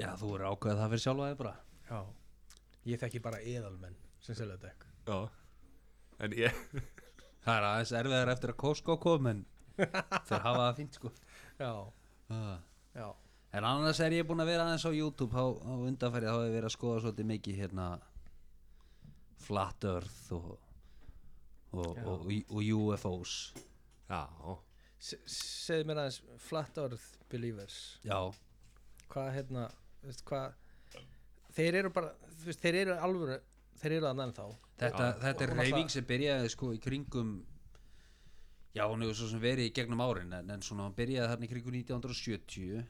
Já, þú er ákveðið það fyrir sjálfa þig bara
Já. ég þekki bara eðalmenn sem selja dekk
Já En ég,
Það er aðeins erfiðar eftir að Costco kom en þeir hafa það fínt sko
já,
Ah.
já,
En annars er ég búinn að vera aðeins á YouTube á, á undanfærið, þá hef ég verið að skoða svolítið mikið hérna Flat Earth og, og, og, og, og UFOs
já
Se- segðu mér aðeins flat earth believers
Já,
hvað hérna þú veist, hvað, þeir eru bara þú veist, þeir eru alvöru þeir eru þannig þá
þetta, þetta
Og
er
náttúrulega-
reyfing sem byrjaði sko í kringum já hún hefur svo sem verið í gegnum árin en, en svona hún byrjaði þarna í kringum 1970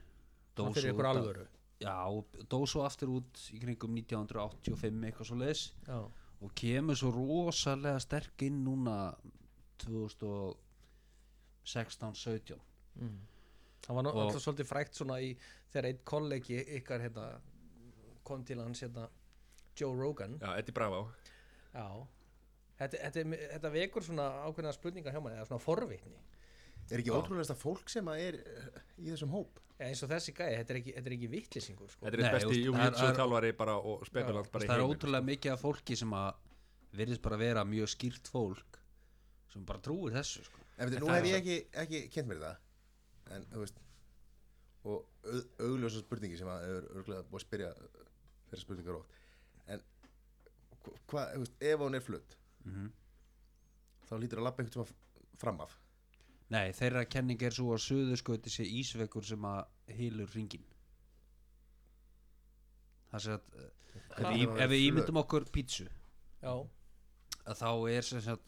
dó svo
það fyrir
út
ykkur
að-
alvöru
já, dó svo aftur út í kringum 1985 eitthvað svo leis
já,
og kemur svo rosalega sterk inn núna 2016-17
Mm. það var nú
Og-
alltaf svolítið frækt svona í þegar einn kollegi ykkar hérna kom til hans hérna Joe Rogan
Já, Eddie Bravo
já Þetta, þetta, er- þetta vekur svona ákveðna spurningar hjá manni eða svona forvitni
er ekki ótrúlegasta fólk sem að er eh, í þessum hóp
Eða eins og þessi gæði, þetta er ekki, þetta er ekki vittlisingur sko.
Þetta er eitt
Nei,
besti
þú veist, það er-
Júmítsjóð þjálfari bara og spekulant bara
það er
heiminum.
sko.
ótrúlega mikið af fólki sem að virðist bara vera mjög skýrt fólk sem bara trúir þessu sko.
en veitir, nú hef ég ekki, ekki kent mér þetta en þú veist og au- augljósa spurningi sem að er örgulega búið að spyrja þeirra spurningar ótt en hva- hvað,
Mhm.
þú veist, ef hún er flutt þá lítur að labba einhvern sem fram af
Nei, þeirra kenning er svo að suðurskauti sé ísvekur sem að hýlur ringin Það sé að eh, ef,
Hvað?
við- ef við ímyndum okkur pítsu
já,
að þá er sem sagt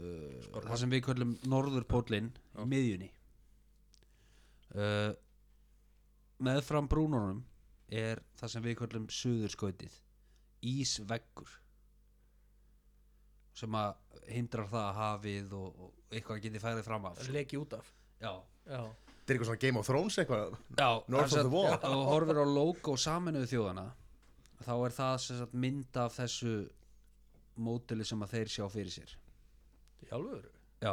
uh, það sem við köllum norðurpóllinn í miðjunni uh, meðfram brúnunum er það sem við köllum suðurskautið ísveggur sem að hindrar það að hafið og, og eitthvað geti færið fram af sko.
leki út af
já,
já,
Þetta er eitthvað svona Game of Thrones eitthvað
já
North of
sem
the Wall.
sagt, ef þú horfir á logo saminuðu þjóðana þá er það sem sagt mynd af þessu mótili sem að þeir sjá fyrir sér
í alvöru
já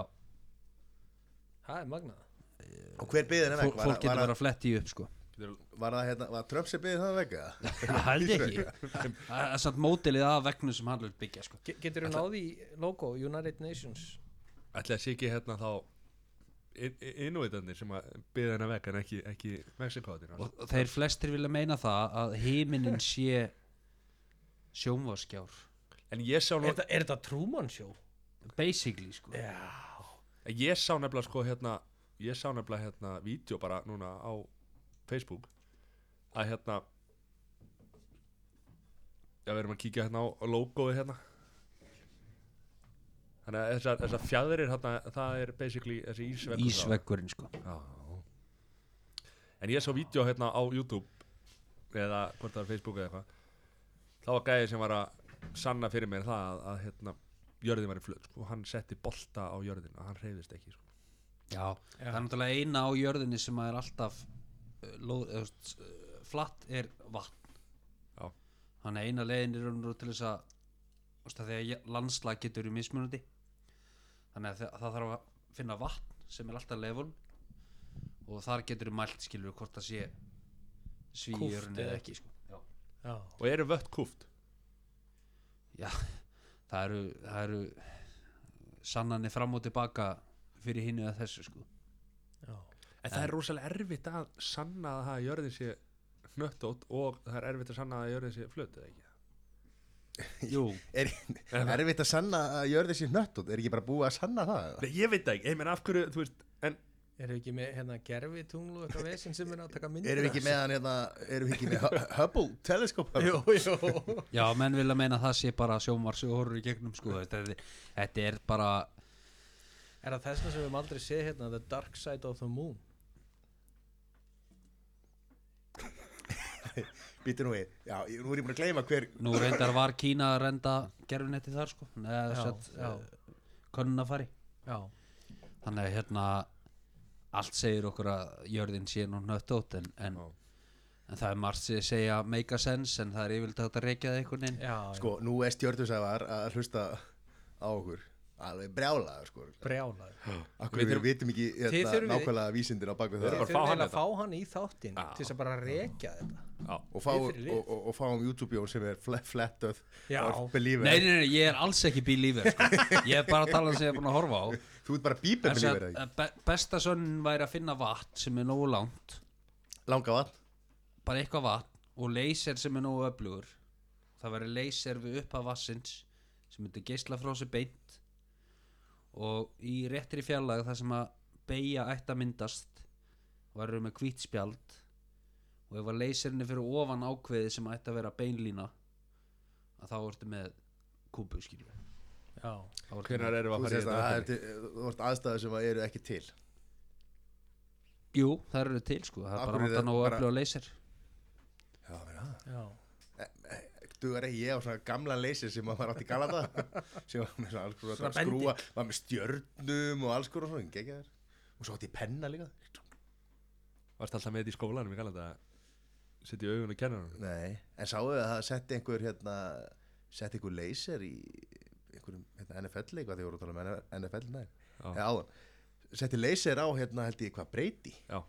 það er magnað
Og hver byðin er
Fólk,
vekk?
fólk getur
var,
verið að fletti í upp sko
að- var það hérna, var Trump sem byðið það vekk eða?
Það held ég ekki Það er samt mótilið að vegnu sem hann vil byggja sko.
Ge- getur þú náði í logo United Nations
Ætli að sé ekki hérna þá innúiðanir sem að byða hennar vekk en ekki, ekki Mexikoðinir
Og þeir flestir vilja meina það að heiminin sé sjónvarskjár
En ég sá, nú,
er, þa- er þetta Truman Show?
Basically sko
já,
ég sá nefnilega sko hérna ég sá nefnilega hérna vídeo bara núna á Facebook að hérna Já, við erum að kíkja hérna á á logoið hérna Þannig að þessar, þessar fjæðurir hérna, það er basically þessi ísveggur
Ísveggurinn sko
Já. En ég sá vídeo hérna á YouTube eða hvort það var Facebook eða eitthvað þá var gæði sem var að sanna fyrir mér það að, að hérna jörðin var í flöt sko, og hann setti bolta á jörðin og hann reyðist ekki sko.
Já. Það er náttúrulega eina á jörðinni sem er alltaf uh, lóð, öst, eh, flatt er vatn
Já.
Þannig að eina leiðin er raun og veru til þess að þú veist, að því að landslag getur í mismunandi þannig að það, það þarf að finna vatn sem er alltaf leifun og þar getur mælt skilur hvort það sé
Kúpt
svíjörn
eða
eða ekki sko. Já.
já,
og eru vött kúft
það eru, það eru sannanir fram og tilbaka fyrir hinu að þessu sko.
já.
en það er rosalega erfitt að sanna að það að jörðin sé hnöttótt og það er erfitt að sanna að jörðin sé flöt eða ekki
Jú,
Er erfitt að sanna að jörði sér nöttot? Er ekki bara búið að sanna það? eða?
Nei, ég veit það ekki, ég meina af hverju þú veist, en
Eru ekki með hérna gerfi tunglu eitthvað vesinn sem er að taka myndir?
Erum við ekki með hann hérna, erum við ekki með Hu- Hubble teleskóp?
Jú, jú.
Já, menn vilja meina að það sé bara sjómars og horfur í gegnum sko þetta er, þetta er bara
Er það þessna sem við höfum aldrei séð hérna The Dark Side of the Moon?
Býtu nú við, já, ég- nú er ég búin að gleyma hver
nú reyndar var Kína að reynda gerfinetti þar sko
Já, já.
könnun að fari
Já.
eh, þannig að hérna allt segir okkur að jörðin sé nú nöttótt en, en,
Já.
en það er margt sem segja make a sense en það er yfirlega þetta reykjað einhvern veginn
Já, sko.
Sko, nú er stjórnusæðar að hlusta á okkur Alveg brjálaður, sko
brjálaður.
Akkur við, við vitum ekki
Þið
hérna,
þurfið-
nákvæmlega vísindir á baku
Þið
það
bara að fá hann
Þeir þurfum eiginlega að
þetta.
fá hann í þáttinn
Já.
til þess að bara rekja þetta.
á,
og, fá, og,
þið þurfið-
og, og fáum YouTube-jón sem er flat, flat earth
Já.
or believer
nei, nei, nei, ég er alls ekki bílífið sko. ég er bara að tala um sem ég er búin að horfa á
Þú ert bara bíber believer
En sem
eða ekki?
að, be, besta sönnin væri að finna vatn sem er nógu langt
Langa vatn
bara eitthvað vatn og laser sem er nógu öflugur það væri laser við upp að vassins sem myndi geisla frá sér beint og í réttri fjarlæg þar sem að beigja ætti að myndast varum með hvít spjald og ef að laserin er fyrir ofan ákveði sem ætti að vera beinlína að þá ertu með kúbu skilju
Já.
hvenær erum við að
Þú
fara hérna í
sést
þetta
að það er
verkefni?
til- þú ert aðstæður sem að eru ekki til
Jú, það eru til sko, það er
Af
bara
hverju
vant að
er
nógu
bara-
öfluga laser
Já, meina
Já.
Dugar ekki ég á svona gamla leysir sem maður átti galata sem var með svona alls konar
Svona
skrúa var með stjörnum og alls konar svona geggjaðar. og svo átti ég penna líka
Varstu alltaf með þetta í skólanum, ég kallar þetta setja augun og kenna hann
Nei, en sáu þið að það setti einhver hérna, setti einhver laser í einhverjum hérna, NFL leik hvað þið voru að tala um NFL nær
Já.
eða áðan, setti laser á hérna held ég hvað breyti
Já,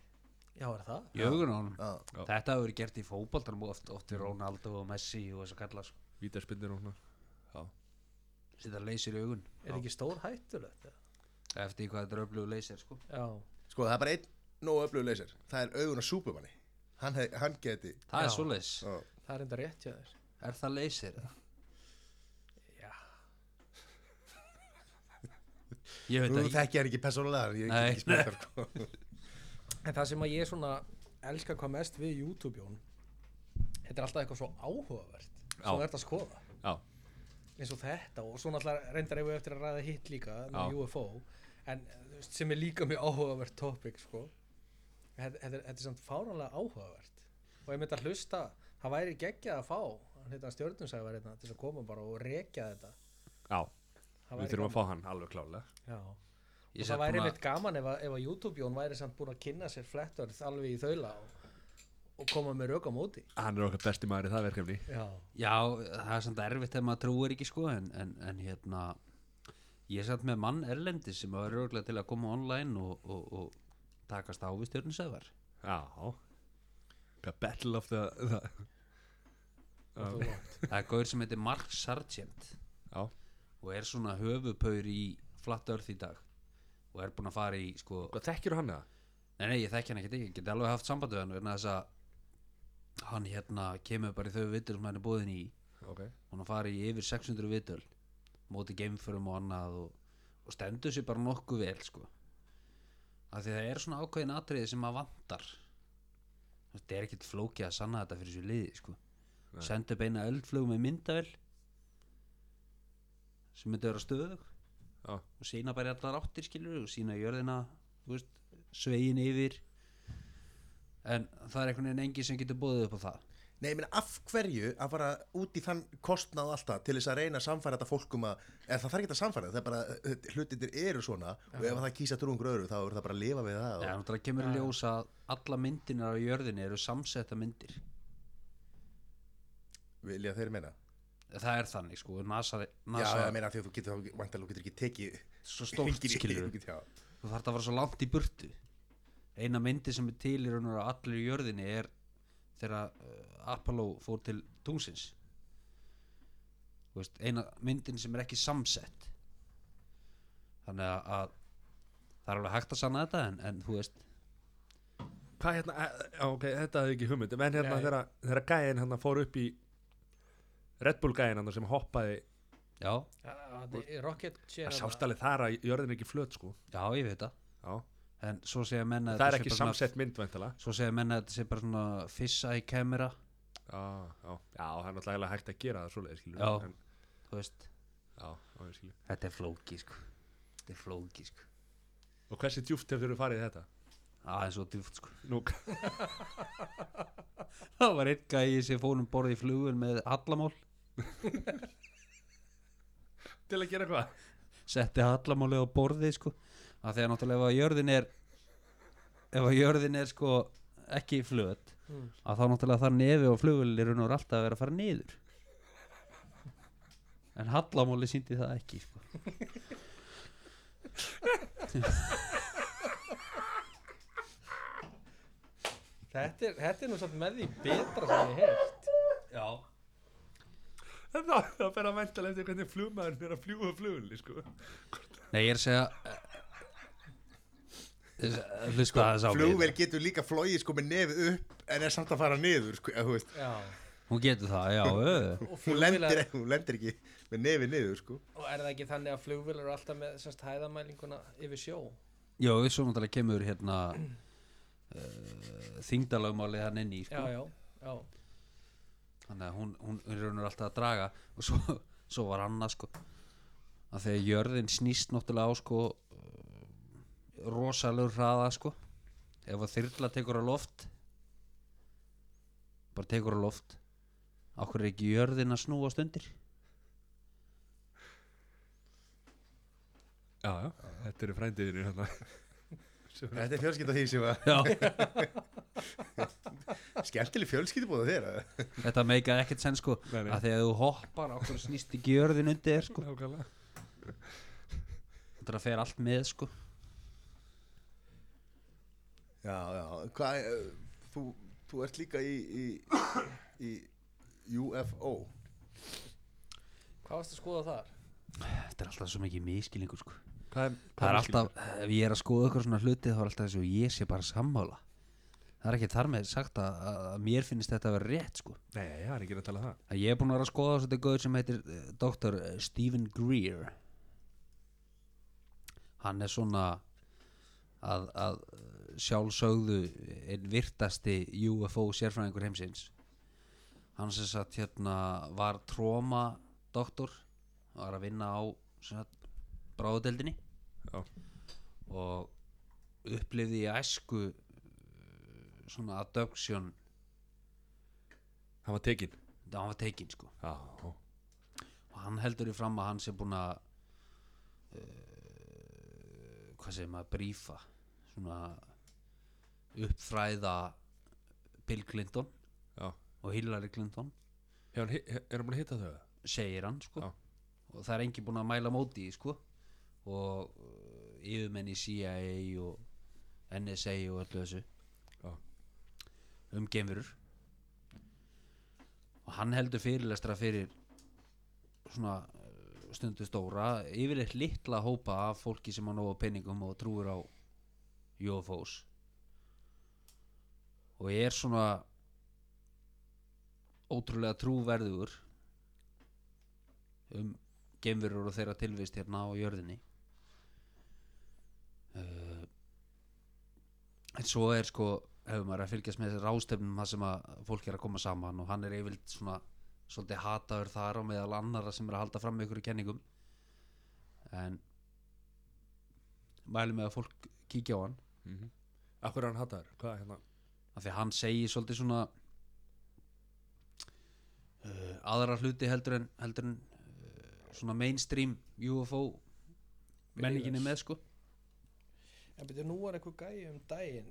Já, er það?
í augun á honum
Já,
Já.
Þetta hefur verið gert í fótboltanum oft, oft í Ronaldo og Messi og þess að kalla sko.
vítaspindir og svona
Sýta leysir í augun
Er ekki stór hættulegt?
eftir hvað þetta er öflugur leysir sko.
Já.
sko það er bara einn nógu öflugur laser, það er augun á Supermanni hann, hef, hann geti
Það
Já.
er svoleiðis
já.
Það er enda rétt hjá þér.
Er það leysir?
Já.
Ég veit
Nú
að
þekki ég hann ekki persónulega, ég er
Nei.
ekki smittar sko.
En það sem að ég svona elska hvað mest við YouTube jón Þetta er alltaf eitthvað svo áhugavert Svo
Já.
er þetta að skoða
Já,
eins og þetta og svo náttúrulega reyndar eigum við eftir að ræða hitt líka með
Já.
UFO en þú veist, sem er líka mjög áhugavert topic sko þetta, þetta, er- þetta er samt fáránlega áhugavert og ég myndi að hlusta það væri geggjað að fá hann hérna stjórnumsæðvar hérna til þess að koma bara og rekja þetta
já,
það
Við
væri
þurfum að
gaman,
fá hann alveg klálega
Já.
Ég
og
satt
það væri
búin að-
einmitt gaman ef að, ef að YouTube Jón væri samt búin að kynna sér flettörð alveg í þaula og, og koma með rök á móti
Hann er okkar besti maður í það verkefni
Já,
já, það er samt erfitt ef maður trúir ekki sko en, en, en hérna ég er samt með mann erlendi sem var örgulega til að koma online og, og, og takast á við stjörninsöðvar
Já The battle of the, the
það er langt
Það er gaur sem heitir Mark Sargent
Já,
og er svona höfupaur í Flat Earth í dag og er búin að fara í sko
hvað þekkir hann eða?
Nei, nei, ég þekki hann ekkert ekki, ég geti alveg haft samband við hann vegna þess að hann hérna kemur bara í þau vitur sem hann er búðin í
Ok
hún að fara í yfir 600 vitul móti geimförum og annað og, og stendur sér bara nokkuð vel sko af því það er svona ákveðin atriði sem maður vantar Þú veist, það er ekkert flókið að sanna þetta fyrir sér liði sko
Nei.
sendu upp eina eldflug með myndavel sem myndi vera stöðug
Já.
og sína bara í allar áttir skilur og sína jörðina þú veist, svegin yfir en það er einhvern veginn engin sem getur búið upp á það
Nei, ég meina, af hverju að fara út í þann kostnað alltaf til þess að reyna að samfæra þetta fólk um að, eða það þarf ekki að samfæra það er bara, eh, hlutirnir eru svona og ef það kýsa trúingur öðru þá er það bara að lifa við það
Já,
og,
náttúrulega kemur í ljós að alla myndinar á jörðinni eru samsetta myndir
vilja þeir meina
það er þannig sko, NASA,
Já,
NASA
ég meina, af því að þú getur, þá vantarlega þú getur ekki tekið
svo stórt
hringinn í-
skilur
þú getur- já.
þú þarf að fara svo langt í burtu eina myndi sem er til í raun og veru á allir jörðinni er þegar uh, Apollo fór til tungsins Þú veist, eina myndin sem er ekki samsett þannig að, að það er alveg hægt að sanna þetta en, en þú veist
Hvað hérna, eh, já, ok, þetta hefði ekki hugmynd En hérna
Nei.
þegar, þegar gæin hann fór upp í Red Bull gæin hann sem hoppaði
já,
Já, þetta er Rocket Chair
Það
hérna.
sást alveg þar að jörðin er ekki flöt sko
já ég veit það
Já
en svo segja menna
Það er ekki samsett mynd væntalega
Svo segja menn að þetta sé bara svona fissa í kamera,
Já, já, já, það er náttúrulega hægt að gera það svoleiðis skilur
Já.
en,
þú veist
já, já, ég skilur
Þetta er flóki sko Þetta er flóki sko
Og hversi djúft hefur þú farið í þetta?
Það er svo djúft sko
Nú,
Það var einn gæi sem fór um borði í flugun með hallamál
til að gera hvað?
Setti hallamáli á borði sko Af því að náttúrulega ef að jörðin er Ef að jörðin er sko ekki flöt
Mm.
Að þá náttúrulega þar nefi og flugulir Hún er alltaf að vera að fara niður En hallamáli síndi það ekki sko
Þetta er, þetta er nú samt með því betra sem ég heilt
Já
Það, það fer að væntalega eftir hvernig flugmaðurinn er að fljúa flugunni, sko.
Nei ég er að segja Ég er að Hlusta þess á mig.
flugvél getur líka flóið sko með nefið upp en er samt að fara niður sko, eða, þú veist,
Já
Hún getur það, já ö.
Og
hún,
flugvélar-
lendir, hún lendir ekki með nefið niður sko
Og er það ekki þannig að flugvélar eru alltaf með semst hæðamælinguna yfir sjó
Já, við svo náttúrulega kemur hérna uh, þingdalögmálið hann inn í
Já,
sko.
já, já
þannig að hún, hún er raunur alltaf að draga og svo, svo var annað sko að þegar jörðin snýst náttúrulega á sko eh, rosalegur hraða sko ef að þyrla tekur á loft bara tekur á loft okkur er ekki jörðin að snúast undir
Já, já, þetta eru frændiðinir hérna. Sem er-
þetta er fjölskylda því sem að
Já,
skemmtileg fjölskyldubóða þér eða?
þetta meika ekkert senn sko
Nei, nei.
að þegar þú hoppar okkur snýst ekki jörðin undir þér, sko
Nákvæmlega.
þetta fer allt með sko
já, já, hvað eh, þú, þú ert líka í, í, í UFO
Hvað varst að skoða þar?
Þetta er alltaf svo mikið miskilingur sko
Hvað er,
Það er alltaf, ef ég er að skoða ykkur svona hluti þá er alltaf þess að ég sé bara sammála Það er ekki þar með sagt að, að að mér finnst þetta að vera rétt sko
Nei, það er ekki að tala um það.
að Ég er búin að vera að skoða eh, þetta gauð sem heitir uh, Dr. Stephen Greer hann er svona að, að eh, sjálfsögðu einn virtasti UFO sérfræðingur heimsins hann sem sagt hérna var tróma doktor var að vinna á sem sagt bráðudeldinni
Já.
og upplifði í æsku uh, svona adoption
hann var tekinn
þegar hann var tekinn sko
já,
og hann heldur í fram að hann sé búin að uh, hvað segir maður, brífa svona uppfræða Bill Clinton
já.
og Hillary Clinton
Hefur Hann, hi- er hann búin að hitta þau?
segir hann sko
Já.
og það er engin búin að mæla móti í, sko og uh, yfirmenn í CIA og NSA og öllu þessu
Já.
um geimverur og hann heldur fyrirlestra fyrir svona uh, stundu stóra yfirleitt litla hópa af fólki sem á nóg á penningum og trúir á UFOs og er svona ótrúlega trúverðugur um geimverur og þeirra tilvist hérna á jörðinni uh, en svo er sko hefur maður að fylgjast með þessi rástefnum þar sem að fólk er að koma saman og hann er yfirleitt svona svolítið hataður þar á meðal annara sem er að halda fram með ykkur kenningum en mælum með að fólk kíkja á hann
Akkur er hann hattar? Hvað er hérna?
af því að hann segir svolítið svona uh, aðra hluti heldur en, heldur en uh, svona mainstream UFO menninginni með sko
En betur, nú var einhver gæi um daginn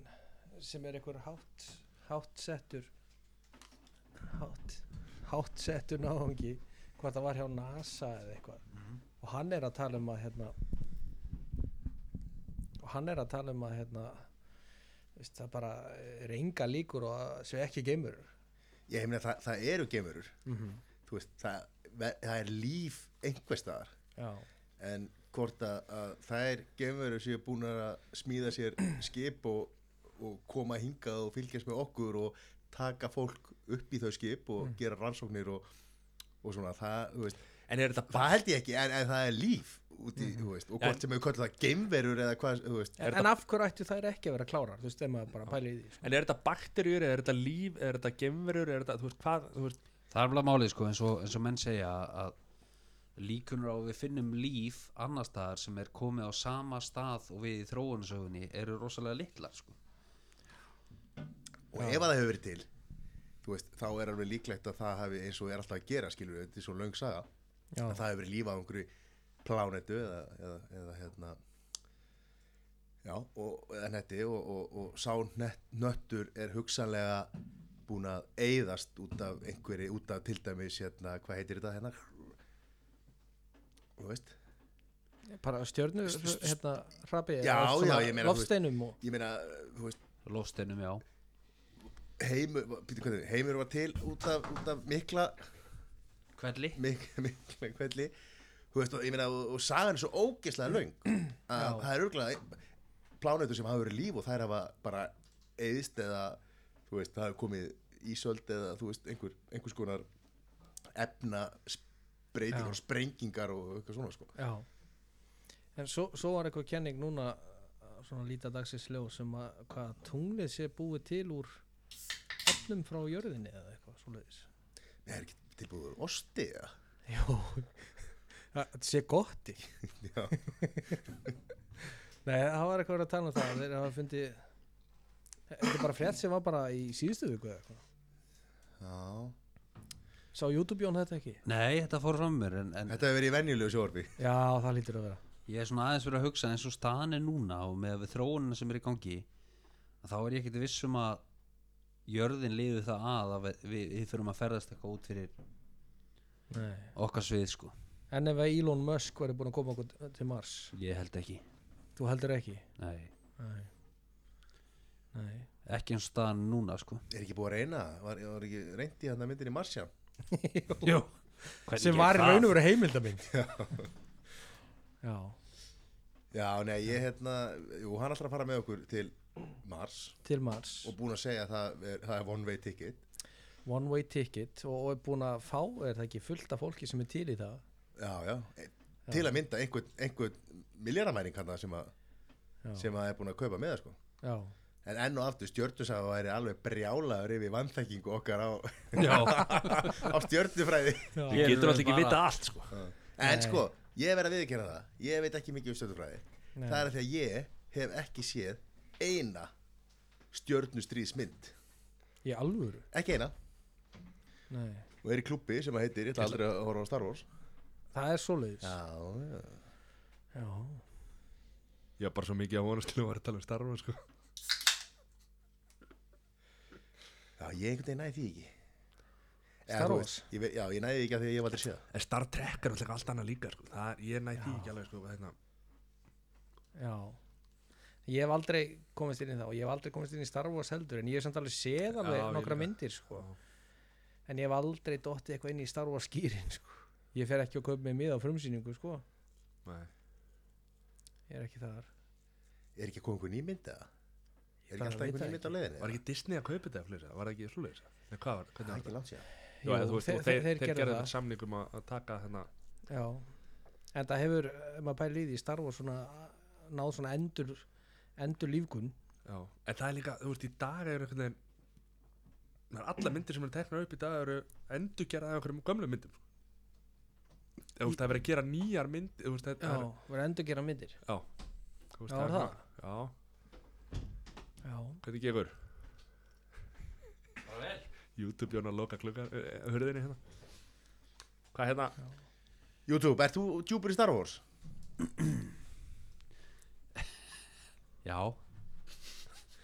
sem er einhver hátt, hátt settur hátt, hátt settur náðungi hvort það var hjá NASA eða eitthvað
Mhm.
og hann er að tala um að hérna og hann er að tala um að hérna veist, það bara er enga líkur og að séu ekki geimur
Ég meina það, það eru gemurur Þú veist, það, það er líf einhver staðar
Já,
en hvort að, að þær gemurur séu búin að smíða sér skip og, og koma hingað og fylgjast með okkur og taka fólk upp í þau skip og gera rannsóknir og, og svona það, þú veist,
En er þetta
það held ég ekki en, en það er líf út í, þú veist og hvort
En-
sem hefur kallað það gemverur eða hvað, þú veist
en, en af hverju ættu þær ekki að vera klárar þú veist, þegar maður bara pæli í því sko.
En er þetta bakterjur, er þetta líf, er þetta gemverur, er þetta, þú veist, hvað, þú veist,
það er alveg málið sko eins og, eins og menn segja að líkunur á að við finnum líf annar staðar sem er komið á sama stað og við í þróunarsögunni eru rosalega litlar sko
og ef að það hefur verið til þú veist, þá er alveg líklegt að það hafi eins og er alltaf að gera, skilur þetta er svo löng saga
Já.
að það hefur verið líf á einhverju plánetu eða, eða, eða hérna já, og, eða netti og, og, og sá nett, nöttur er hugsanlega búin að eyðast út af einhverju, út af til dæmis hérna, hvað heitir þetta hérna þú veist
bara stjörnu, hérna, hrapi
Já,
eða svona
já, ég meina, þú veist-
loftsteinum og
ég meina, þú veist
lofsteinum já
heimur, býttu, hvað er þetta? heimur var til út af, út af mikla
hverli
mikla, mikla kvelli þú veist, og, ég meina, og, og sagan er svo ógeðslega löng að það er örgulega plánetur sem hafa verið líf og þær hafa bara eðist eða þú veist, það hafa komið ísöld eða þú veist, einhver, einhers konar efna breytingar og sprengingar og eitthvað svona sko.
Já En svo, svo var eitthvað kenning núna uh, svona líta dagsins ljó sem að hvað tunglið sé búið til úr öllum frá jörðinni eða eitthvað svoleiðis
Nei, það er ekki tilbúður osti eða?
Jó Það sé gott í
Já.
Nei, það var eitthvað verið að tala um það þeir hafa fundið Þetta er bara frétt sem var bara í síðustu viku eða eitthvað
Já.
Sá YouTube Jón þetta ekki?
nei þetta fór fram um mér en, en
Þetta hefur verið í venjulegu sjóarfi
Já, það lítur að vera
Ég er svona aðeins verið að hugsa eins og staðan er núna og með við þróunina sem er í gangi að þá er ég ekkert viss um að jörðin liður það að að við, við, við fyrir að ferðast eitthvað út fyrir
Nei.
okkar svið sko
En ef að Elon Musk verið búin að koma okkur til Mars
Ég held ekki
Þú heldur ekki?
Nei,
Nei Nei
ekki eins og staðan er núna sko
Er ekki búið að reyna? Var, var ekki reynd í hann að myndin í Marsjan?
Jó
sem var í raun og veru heimildamind já
Já, nei, ég hérna Jú, hann ætlar að fara með okkur til Mars
til Mars
og búin að segja að það er, það er one way ticket
one way ticket og, og er búin að fá er það ekki fullt af fólki sem er til í það
Eh, já, já. E- til að mynda einhvern, einhvern miljardamæring hann sem, að-
Já.
sem að er búin að kaupa með það sko
já,
en enn og aftur stjörnusafa væri alveg brjálaður yfir vannþekkingu okkar á,
Já,
á stjörnufræði
já.
Við getum
Hér
alltaf
erum
ekki
við
vita allt sko
en
Nei.
sko, ég verð að viðkynna það ég veit ekki mikið um stjörnufræði
Nei.
það er af því að ég hef ekki séð eina stjörnustríðsmynd
í alvöru
ekki eina
Nei.
og er í klubbi sem að heitir, ég ætla aldrei að horfa á Star Wars
það er svoleiðis
já, já
já.
Ég var bara svo mikið að vonast til að vera að tala um starfa sko
Já, ég einhvern veginn næði því ekki Eða,
Star
þú
Wars?
veist, ég veit- Já, ég næði því ekki að því að ég hef aldrei séð það
En Star Trek er alltaf allt annað líka sko Það er, ég næ því ekki alveg sko hérna.
já ég hef aldrei komist inn í það og ég hef aldrei komist inn í Star Wars heldur en ég hef samt alveg séð alveg
Já, ég
nokkra
líka.
myndir sko. en ég hef aldrei dottið eitthvað inn í Star Wars skýrin sko. ég fer ekki að kaupa mig miða á frumsýningu sko.
Nei.
ég er ekki þar
Er ekki að koma einhver ný mynd eða? Er
bara
ekki alltaf
veit
einhver
það
ný mynd á leiðinni?
Var ekki Disney að kaupa þetta fyrir það? Var það ekki svoleiðis? Nei, hvað var?
Það er
Hvernig var
ekki
það?
langt síðan
Já,
Jú,
þú veist,
þeir-
og þeir,
þeir- þeir gerðu
gerðu
það.
það samningum að að taka þennan
Já, en það hefur, ef maður pælir í því, Star Wars svona, náð svona endur, endur lífgun.
Já, en það er líka, þú veist, í dag er einhvern veginn Það er alla myndir sem eru teknar upp í dag eru endurgerðað af einhverjum gömlum myndum sko. Þú veist, það er verið að gera nýjar mynd Þú veist,
Já,
það er
verður endur gera myndir.
Já, þú veist,
Já, er það?
svona- Já,
Já,
hvernig gefur? Bara vel YouTube björn að loka klukka uh, Hörðinni hérna Hvað hérna?
YouTube, ert þú djúpur í Star Wars?
já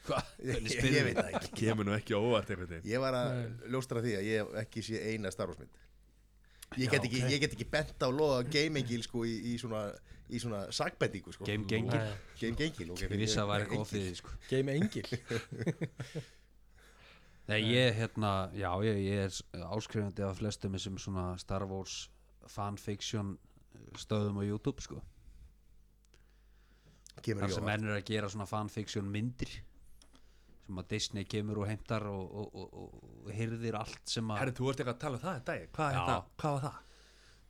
Ég,
Hvernig
ég,
spyrðu?
veit það ekki
Kemur nú ekki á óvart einhvern veginn
Ég var að ljóstra því að ég hef ekki séð eina Star Wars mynd Ég get ekki, ég get ekki bent á loða gamengil sko í, í svona, í svona sagbendingu sko
Game gengil
Nei.
Gamegengil ok,
Ég vissi að það væri eitthvað ofið sko.
geimi engil.
Nei, ég hérna, já, ég, ég er áskrifandi af flestum þessum svona Star Wars fanfiction stöðum á YouTube sko.
Kemur
Þar
ég
sem
á
menn er að gera svona fanfiction myndir sem að Disney kemur og heimtar og, og, og, og, og hirðir allt sem að
Herri, þú varst eitthvað að tala um það í dag Hvað,
Já.
hérna, hvað var það?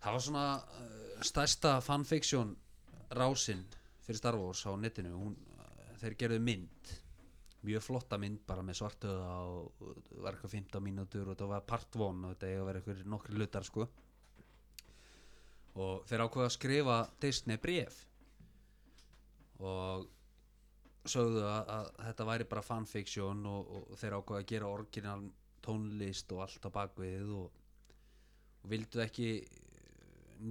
Það var svona uh, stærsta fanfiction rásin fyrir Star Wars á netinu Hún, uh, þeir gerðu mynd mjög flotta mynd bara með svartöða og og var eitthvað 15 mínútur og þetta var part 1 og þetta eiga að vera eitthvað nokkri hlutar sko og þeir ákveða að skrifa Disney bref og sögðu að, að þetta væri bara fanfiction og, og þeir ákveða að gera orginal tónlist og allt á bakvið og og vildu ekki eh,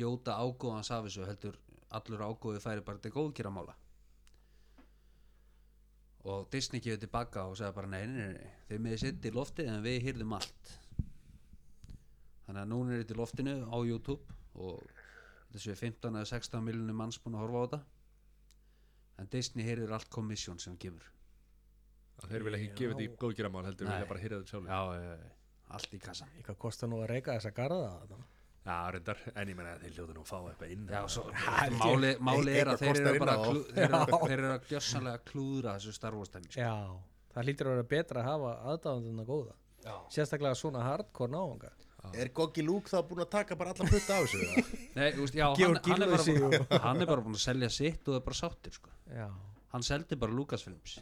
njóta ágóðans af þessu heldur allur ágóði færi bara til góðkeramála og Disney gefur tilbaka og sagði bara nei, nei, nei, nei. þeir miður sitt í loftið en við hýrðum allt þannig að núna er þetta í loftinu á YouTube og þessu er 15 eða 16 miljonum manns búin að horfa á þetta en Disney hýrðir allt komissjón sem hann gefur
Þeir vilja ekki gefa þetta í góðgeramál heldur
Nei.
vilja bara hýrða þetta sjálf
já, já, já, allt í kassan
Eitthvað kostar nú að reyka þessa garða þarna.
Já, reyndar, en ég meina að þeir hljóta nú að fá eitthvað inn
Já, svo, máli, máli er
eitthvað
að þeir
kostar
eru
inn á.
bara að klú- þeir eru að- þeir eru að gjössanlega klúðra þessu Star Wars dæmi sko.
Já, það hlýtur að vera betra að hafa aðdáðanduna góða. Já. Sérstaklega svona hardcore náunga.
það Er Goggi Luke þá búin að taka bara alla putta á þessu? eða?
Nei, þú veist, já, hann,
Georg
hann, er bara
Gylfi
búin, hann er bara búin að selja sitt og það er bara sáttur sko.
Já,
hann seldi bara Lucasfilms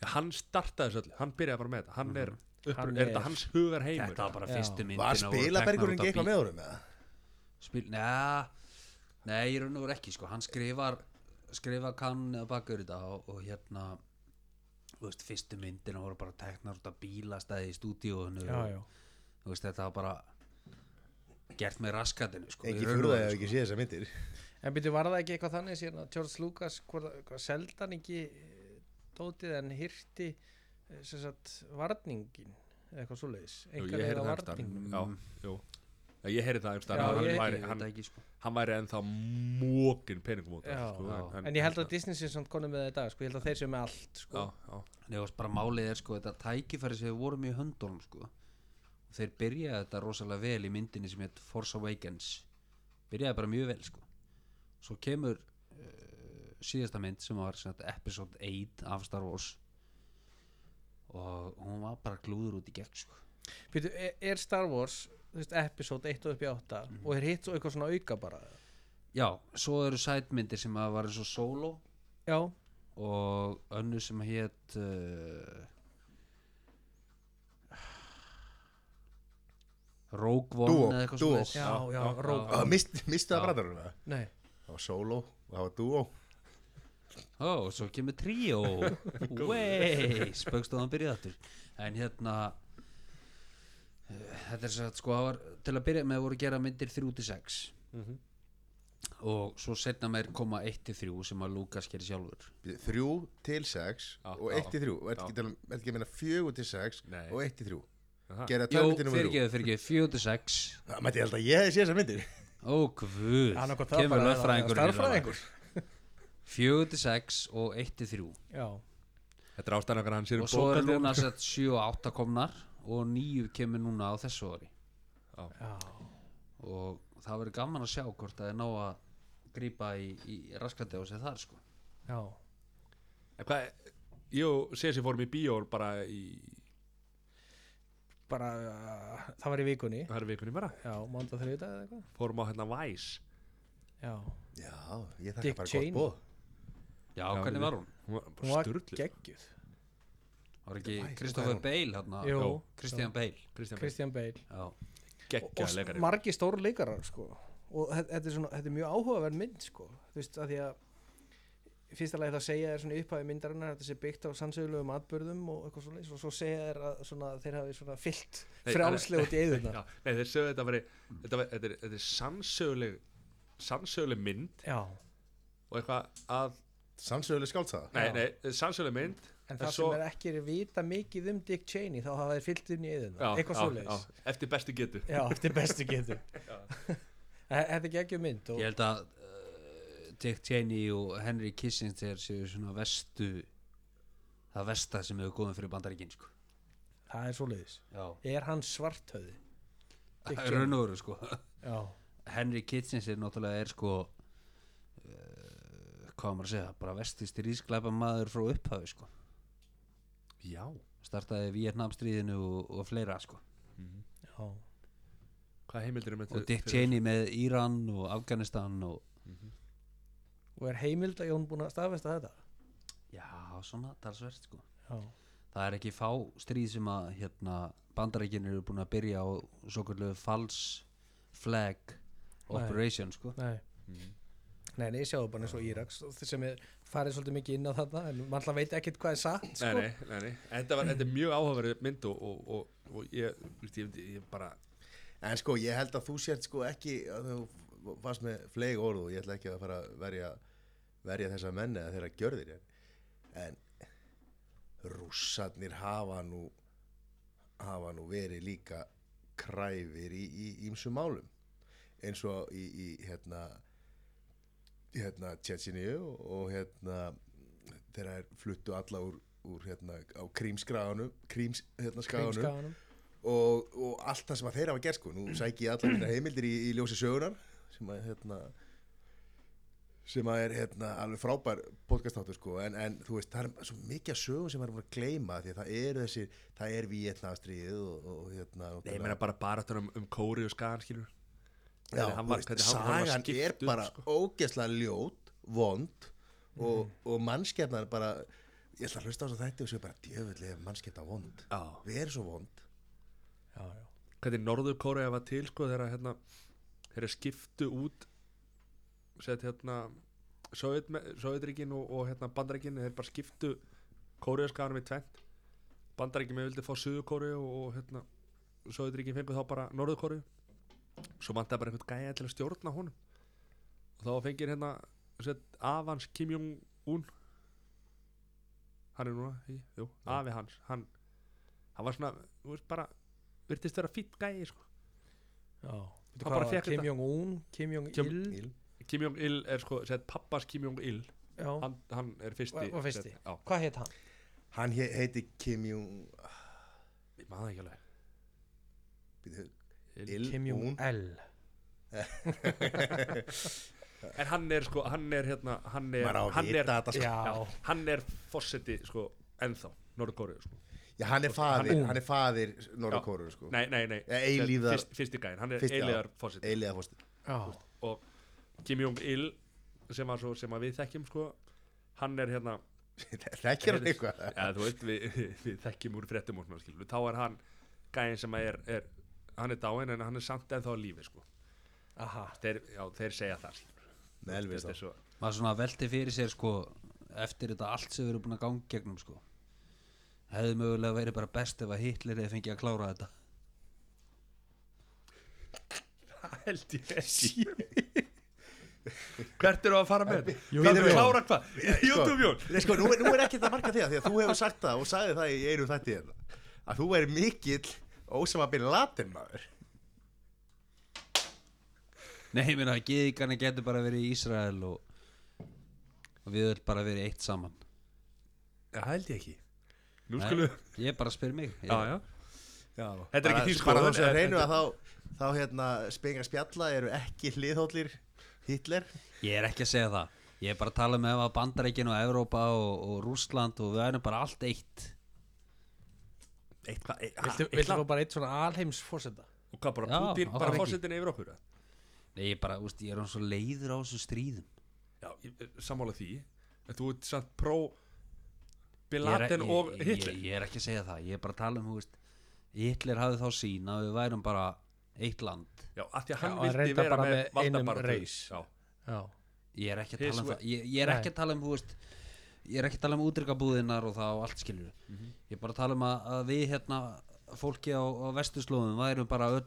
Já, Hann startaði þessu öll, hann byrjaði bara með þetta Hann er, uppr,
Mhm. Hann
er, þetta
er-
hans hugar heimur
þetta var bara
Já.
fyrstu myndin
Var spilabergurinn ekki eitthvað með honum eða?
spil, neða, nei, í raun og veru ekki sko. hann skrifar skrifar kann bakur þetta og, og hérna þú veist, fyrstu myndin voru bara teknar út af bílastæði í stúdíóinu
já, já.
Þú veist, þetta var bara gert með raskatinu sko, í
Ekki
raun og
fyrir það
veru,
ef
sko.
ekki séð þessar myndir
En byrju, var það ekki eitthvað þannig síðan að George Lucas, hvað, hvað seldi hann ekki eh, dótið en hirti eh, sem sagt varningin eða eitthvað svoleiðis,
Jú,
einhver
ég heyrði
eða
það
varningin
einhverstaðar. Já, jú. Já, ég heyrði það
Já,
einhverstaðar að
ég-
hann,
Ég
væri-
veit
hann,
ekki, sko.
hann væri ennþá mókin peningum út af
Já,
þessu, sko,
já.
en ég held að Disney sé samt konum með það í dag, sko, ég held að þeir séu með allt sko.
Já, já,
Nei, og bara málið er sko þetta tækifæri sem við vorum í höndunum sko og þeir byrjaði þetta rosalega vel í myndinni sem heit Force Awakens byrjaði bara mjög vel sko svo kemur uh, síðasta mynd sem var sem sagt, episode 8 af Star Wars og hún var bara glúður út í gegn sko
Byrju, er, er Star Wars þú veist, episode 1 og upp í 8 og er hitt svo eitthvað svona auka bara
já, svo eru sætmyndir sem að var eins og solo
já,
og önnu sem hétt uh, Rogue One
Duo,
eða eitthvað
Duo.
svoleiðis.
já, já,
já.
rók
Ah, mist- Mistu það
Já.
bræðarum það?
nei,
Það var solo, það var duo
Ó, svo kemur tríó Wey, spöggstofan byrjaði aftur En hérna eh, Þetta er sagt sko það var, Til að byrja með voru að gera myndir 3-6
Mhm.
Og svo setna meir koma 1-3 sem að Lukas gerir sjálfur
Þrjú til sex
Já,
og
já,
eitt til þrjú
já.
Ertu ekki að tala um- ertu ekki að minna fjögur til sex
Nei.
og eitt til þrjú
Aha.
Gerða
Jó,
tölvitinu með þrjú
fyrirgeðu, fyrirgeðu, 4-6
Það mætti ég held að ég hefði séð þessar myndir
Ó, guð
annaðhvort það
Kemur hérna.
bara eða-
löffræðingur
eða starffræðingur.
4-6 og 1-3
já,
Þetta er ástæðan okkar að hann sér um
Og svo er
bókaldið.
núna sett 7 og 8 komnar Og 9 kemur núna á þessu ári
já,
og það verður gaman að sjá hvort það er ná að grípa í, í raskandi á sig þar sko
já
En Hvað, ég og Sessi fórum um í bíó bara í
bara, uh, það var í vikunni
það er vikunni bara
já, mánda þriðdag eða eitthvað
fórum á hérna Vice
já,
Já, ég
Dick
þakka bara
Cheney.
gott bóð
já, hvernig var hún?
hún var
hún
bara
var
styrlu
geggjuð
var ekki
hvað
Kristoffer
er hún?
Bale hérna?
Jú.
Kristján Bale
Kristján Krist...
Christian Bale
já.
geggja
og
leikari sko.
margi stóru leikarar sko. og þe- þetta er, svona, þetta er mjög áhugaverð mynd sko. þú veist að því að í fyrsta lagi þá segja þér svona í upphæði myndarinnar að þetta sé byggt á sannsögulegum atbyrðum og eitthvað svona og svo segja þér að svona, þeir hafi svona fyllt
Nei,
frjálslega út í
Já,
eyðuna
nei, þeir sögðu þetta veri þetta, var, þetta, er, þetta er sannsöguleg sannsöguleg mynd
já,
og eitthvað að
Samsöguleg skáltsaða
nei,
Já.
nei, sannsöguleg mynd
en
En
það
svo-
sem er ekki er vita mikið um Dick Cheney þá hafa þeir fyllt inn í eyðuna
já,
eitthvað
já,
svoleiðis
já, eftir bestu getu
já, þetta er bestu getur þetta er geggjum mynd og
ég held að uh, Dick Cheney og Henry Kissinger séu svona vestu það vesta sem hefur góðum fyrir bandaríkin sko
það er svoleiðis
já
er hann svartöði Dick Cheney.
raun og veru sko
já,
Henry Kissinger náttúrulega er sko uh, hvað á maður að segja bara vestist í rísklæpa maður frá upphafi sko
já,
startaði Vietnamstríðinu og, og fleira sko
já,
hvað heimildir um
og Dick Cheney með Íran og Afganistan og
og er heimild að Jón búin að staðfesta þetta
já, svona talsvert sko
já,
það er ekki fá stríð sem að hérna, bandarækjun eru búin að byrja á svo kallu fals flag operation sko
nei nei, nei, ég sjáðu bara eins og Íraks sem er farið svolítið mikið inn á þarna en maður alltaf veit ekkert hvað er satt sko.
Nei, nei, nei, nei. Þetta, var, þetta er mjög áhugaverð mynd og, og, og, og ég, ég, ég, ég bara
En sko, ég held að þú sért sko ekki að þú varst með fleig orð og ég ætla ekki að fara að verja, verja þessa menn eða þeirra gjörðir en, en rússarnir hafa nú hafa nú verið líka kræfir í, í ímsum málum eins og í, í hérna hérna Tjetjini og, og hérna þeirra er fluttu alla úr, úr hérna á krímskraðanum kríms, hérna skaganum
Krímskaganum.
og, og allt það sem að þeir hafa gert sko, nú sæki ég allar minna heimildir í, í ljósi sögunar sem að hérna sem að er hérna alveg frábær podcastáttur sko, en, en þú veist það er svo mikið af sögum sem maður er búin að gleyma því að það eru þessir, það er Vietnastrið og, og, og hérna
Nei, ég meina bara baráttur um, um kóri og skagan, skilur
Já,
hvernig hann
þú
var-
veist,
hvernig hann- hann var sko.
sagan
skipt
er
upp,
bara ógeðslega ljót, vond og,
Mhm.
og mannskjarnar bara ég ætla að hlusta á þess að þetta og segja bara djöfull er mannskjarnar vond,
Já.
við erum svo vond
já, já,
hvernig Norður Kórea var til sko þegar að, hérna, þeirra skiptu út sett hérna Sovjetríkin og, og hérna Bandaríkin þeir bara skiptu Kóreaskaðanum í tvent Bandaríkin með vildi fá Suður Kóreu og, og hérna Sovjetríkin fengu þá bara Norður Kóreu svo vantaði bara einhvern gæja til að stjórna honum og þá fengir hérna sett, Avans Kim Jong-un hann er núna í, jú, afi hans hann, hann var svona, þú veist bara virtist vera fýtt gæi sko.
já. Veitu
Hann
hvað
bara
var?
fékk
Kim
þetta.
Jong-un, Kim Jong-il
Kim- Kim Jong-il er sko sett, pappas Kim Jong-il
já.
hann, hann er fyrsti,
Var- var fyrsti.
Sett, á,
hvað hétt hann?
hann he- heiti Kim Jong
ég maður það ekki alveg
býtu,
Il-
Il
Kim
Un-
Jong-el
en hann er sko hann er hérna hann er,
maður á að
hann
vita
er,
þetta sko.
já,
já, hann er fósetti sko ennþá Norðkóriðu sko
já, hann er faðir,
Hann-
hann, er faðir Norra Kóru sko.
nei, nei, nei,
Ja, eilífðar-
fyrst, fyrsti gæin hann er
Fyrsti, já.
eilíðar fósetti
eiliga fósti
já,
og Kim Jong-il sem, að svo- sem að við þekkjum sko hann er hérna
Þekkir hann
heyrðist-
eitthvað?
Já, þú veist, við, við þekkjum úr fréttum og svona, skilur, þá er hann gæðin sem að er, er, hann er dáin en hann er samt ennþá á lífi, sko
Aha,
þeir, já, þeir segja það, skilur
Með Elvis
Þetta
þá
er svo,
maður svona velti fyrir sér sko eftir þetta allt sem við erum búin að ganga í gegnum sko hefði mögulega verið bara best ef að Hitler hefði fengið að klára þetta
það held ég ekki Hvert eru að fara með?
Jú,
Hvað
jú,
eru
jú.
að klára hvað? YouTube Jón
Nei, sko, nú er, nú er ekki það marka þér því að þú hefur sagt það og sagði það í einu þætti hérna að þú er mikill Ósama bin Laden maður
nei, ég meina að geðingarna getur bara verið í Ísrael og, og við höfum bara verið eitt saman
Já, held ég ekki Nú
Nei,
skulum,
ég bara spyr mig ég,
já, já
Já,
Þetta er ekki þín
Bara
skoðun,
þú sem
en-
reynu
en-
að þá, þá hérna spengar spjalla eru ekki hliðhóllir Hitler
ég er ekki að segja það ég er bara að tala með ef að Bandaríkin og Evrópa og, og Rússland og við erum bara allt eitt
Eitt hvað, eitt,
viltu,
eitt
viltu
land.
fá bara eitt svona alheimsforsenda
e- Og hvað bara,
Já,
Putin,
áfram
bara
ekki.
fórsetin yfir okkur eða?
nei, ég bara, úst, ég er hann svo leiður á þessu stríðum
Já, ég- e, sammála því En þú ert samt pró Bin
Ég er-
Laden
ég-
og
ég-
Hitler
ég, ég er ekki að segja það, ég er bara að tala um þú veist, Hitler hafði þá sín að við værum bara eitt land
Já, af því að hann
Já, hann
vildi
reyndar
vera
bara
með
með einum
valdabarðu
reis.
Já,
Já,
ég er ekki að
His
tala um
way.
það ég, ég er
Nei.
ekki að tala um, þú veist ég er ekki að tala um útrygabúðinar og það og allt skilur
Mhm.
ég er bara að tala um að, að við hérna fólki á, á vesturslóðum værum bara öll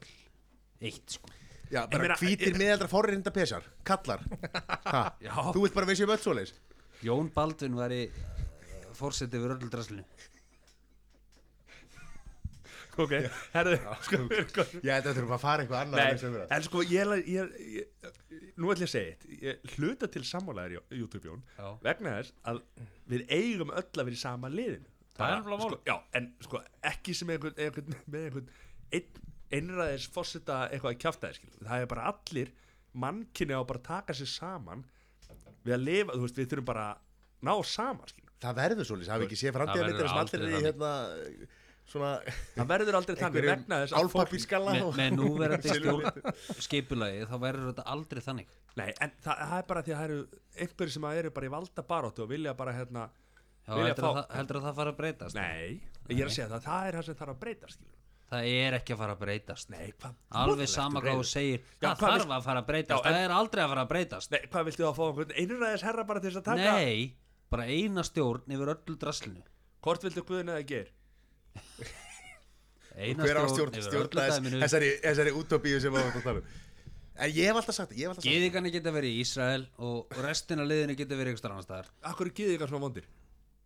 eitt sko
Já, bara
meina,
hvítir miðaldra forrinda pesjar Kallar ha,
Já.
Þú vilt bara vissi um öll svoleiðis
Jón Baldvin væri fórsetið við öllu draslinu
ok, herðu sko, sko,
Já, þetta þurfum að fara eitthvað annað
Nei,
en sem vera.
en sko ég, er- ég, er- ég, nú ætlum ég að segja eitt ég hluta til sammálaðir í YouTube Jón
Já.
vegna þess að við eigum öll að vera í sama liðin
Það er alveg
sko, já, en sko ekki sem einhvern, einhvern, með einhvern ein, einræðis fórseta eitthvað að kjafta þér skilur. það er bara allir mannkinni á bara að taka sér saman við að lifa, þú veist, við þurfum bara að ná saman, skilur.
Það verður svoleiðis, hafi ekki séð framtíðarmyndir sem
verður
allir
aldrei
er í
þannig.
hérna svona
það verður aldrei þannig vegna
einhverjum
þess að fólk-
álpapírskalla
með,
og-
með núverandi
Silfurliti.
stjórn skipulagi þá væri þetta aldrei þannig
Nei, en það, það er bara því að það eru einhverjir sem eru bara í valda baróttu og vilja bara hérna
Já,
Vilja
heldur, að
fá-
það, heldur að það fara að breytast
Nei, ég er að segja það, það er það sem þarf að breyta skilur.
það er ekki að fara að breytast
Nei, hvað
alveg
voðalegt
sama
þú
hvað þú
reyður.
segir
Já,
það
hvað
þarf
veist-
að fara að breytast
Já, en-
það er aldrei að fara að breytast
Nei, hvað viltu þá að fá einhvern einræðis herra bara til þess að taka
nei, bara eina stjórn yfir öllu draslinu
Hvort viltu guðin eða ger
eina
hver á
stjórn,
stjórn,
yfir
stjórn
öllu dæminu
þessari, þessari útopíu sem við varum að tala um en ég hef alltaf sagt ég hef alltaf sagt
geðingarnir geta verið í Ísrael og restina liðinu geta verið einhver annars staðar
Akkur er gíðið eitthvað svona vondir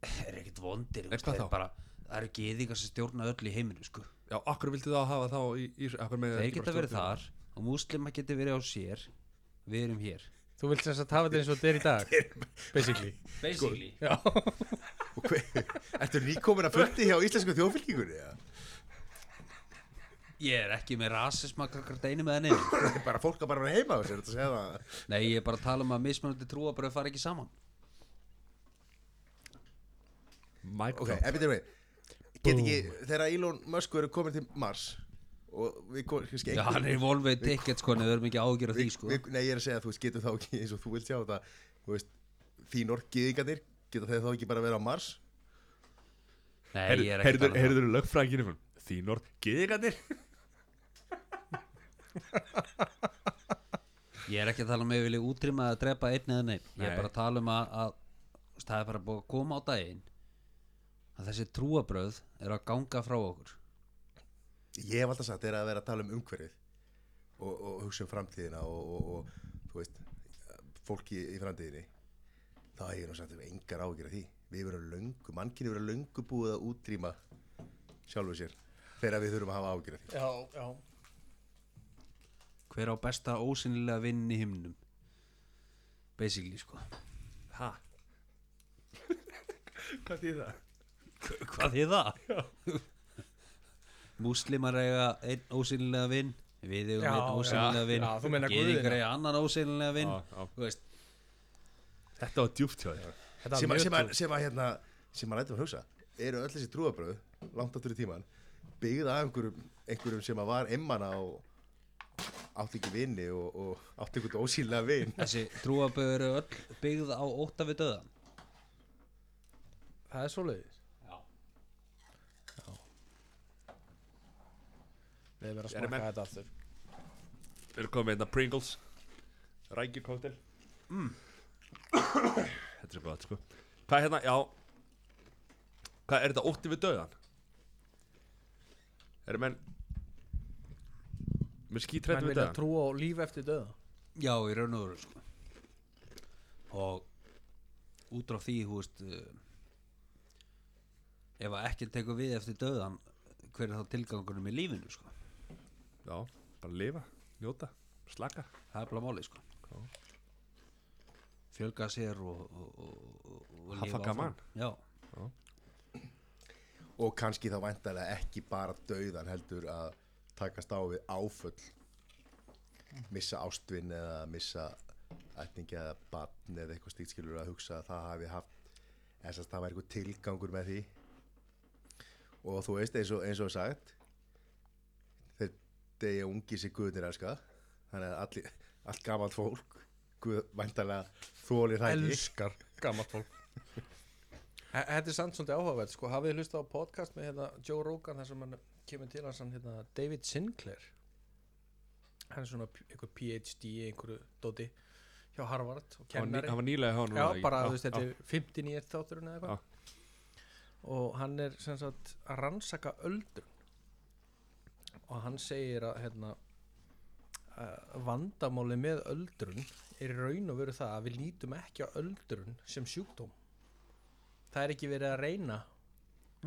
það er ekkit vondir
hvað þá?
það er bara það eru geðingar sem stjórna öllu í heiminu sko.
Já, akkur viltu þá hafa þá í, í akkur með
þeir geta verið þar og múslima geta verið á sér við erum hér
þú vilt sem sagt hafa þetta eins og þetta er í dag Basically
Sko,
basically
Já,
Og hver- ertu nýkomin að fundi hjá íslensku þjóðfylkingunni eða?
ég er ekki með rasisma kakar deinu með henni
Það er bara fólk að bara vera heima á sér þetta segja það
nei ég er bara að tala um að mismunandi trúa bara fara ekki saman
Mike
ok, en byrjum við get ekki þegar Elon Musk verður komin til Mars og við komum kannski
Já, hann er í Volvo tickets sko, en við erum ekki ágjör af því
við,
sko
við, nei, ég er að segja að þú veist, getur þá ekki eins og þú vilt sjá þetta þú veist, þín orð geðingarnir geta þeir þá ekki bara að vera á Mars
Nei, ég er
Heyrður
ekki að tala um það.
heyrður lögfrækinu Þín orð, gíðingarnir
Ég er ekki að tala um að ég vilja útrýma að drepa einn eða neitt Ég er
Nei.
bara að tala um að, að þú veist, það er bara búið að koma á daginn að þessi trúabröð er að ganga frá okkur
ég hef alltaf sagt er að vera að tala um umhverfið og, og hugsa um framtíðina og, og, og þú veist fólki í framtíðinni þá hef ég nú sagt um engar ágjur af því við verum löngu, mannkynni verum löngu búið að útrýma sjálfu sér þegar við þurfum að hafa ágjur af því
já, já
Hver á besta ósynilega vinn í himnum Basically sko
Ha? Hvað þýð það?
Hvað þið það? Múslimar eiga einn ósynilega vinn Við eigum
Já,
einn ósynilega
já,
vinn
já, þú meinar guðina.
Gyðingar eiga annan ósynilega vinn
Já, já.
Þú veist,
Þetta var djúpt hjá þér
Þetta
sem,
var
að-
mjög
sem, að,
trú
sem að hérna sem að lætum að hugsa eru öll þessi trúabröð langt áttur í tíman byggð af einhverjum, einhverjum sem að var einmana og, átti ekki vini og, og átti ykkur ósýnlega vin
Þessi trúaböður eru öll byggð á óta við döðan
Það er svoleiðis Já Við
Eru
verðum að smakka
menn-
þetta aftur
Við erum komið hérna Pringles Rækjukóttel mm. Þetta er svo gott sko Hvað er hérna, já Hvað er þetta ótti við döðan? Erum menn Mér skýt
Menn
hrættum við
vilja
döðan
trúa á líf eftir döða
Já, í raun og veru sko. Og út frá því, hú veist uh, Ef að ekki tekur við eftir döðan Hver er þá tilgangunum í lífinu sko?
Já, bara lifa, njóta, slaka
Það er bara málið sko. Fjölga sér og, og, og- og, og
Hafa
lifa
gaman.
áfram. Já,
og kannski þá væntalega ekki bara dauðan heldur að takast á við áföll missa ástvinn eða missa ætningi eða barn eða eitthvað slíkt skilur að hugsa að það hafi haft eða sem sagt, það væri eitthvað tilgangur með því og þú veist eins og, eins og sagt þeir degja ungi sér guðnir elska þannig að allir, allt gamalt fólk guð, væntalega þólir það ekki
Elskar gammalt fólk Þe- Þetta er samt svolítið áhugavert sko, hafið þið hlustað á podcast með hérna, Joe Rogan þar sem hann kemur til hans hann, hérna, David Sinclair hann er svona p- einhver PhD í einhverju dóti hjá Harvard og
Hann
kennari
var nýlega hjá hann
Já, bara þú veist, þetta er 15 í eitt þátturinn
Já.
eða eitthvað og hann er sem sagt að rannsaka öldrun og hann segir að hérna að vandamáli með öldrun er í raun og veru það að við lítum ekki á öldrun sem sjúkdóm það er ekki verið að reyna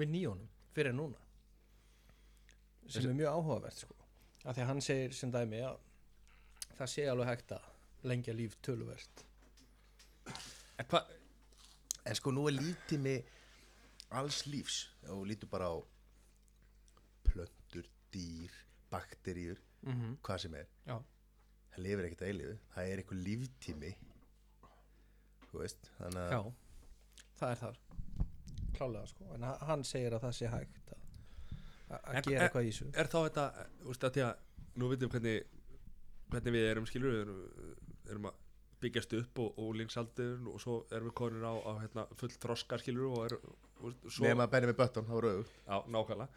við nýjónum fyrir núna sem er mjög áhugavert sko. af því að hann segir sem dæmi að það sé alveg hægt að lengja líf töluvert
En hvað,
En sko nú er lítið með alls lífs og lítur bara á plöntur, dýr, bakteríur,
mm -hmm.
hvað sem er.
Já.
Það lifir ekkert að eilifu, það er einhver líftími, þú veist, þannig
Já,
að
það er þar klálega sko, en h- hann segir að það sé hægt að- að
En-
að gera
en-
eitthvað í þessu
er þá þetta þú veist að því að nú veitum við hvernig hvernig við erum skilur við erum, erum að byggjast upp og, og língsaldur og svo erum við konir á, á hérna, full þroska skilur og er, þú veist, svo,
nema að benni með bötton, það voru auðvitað.
á, nákvæmlega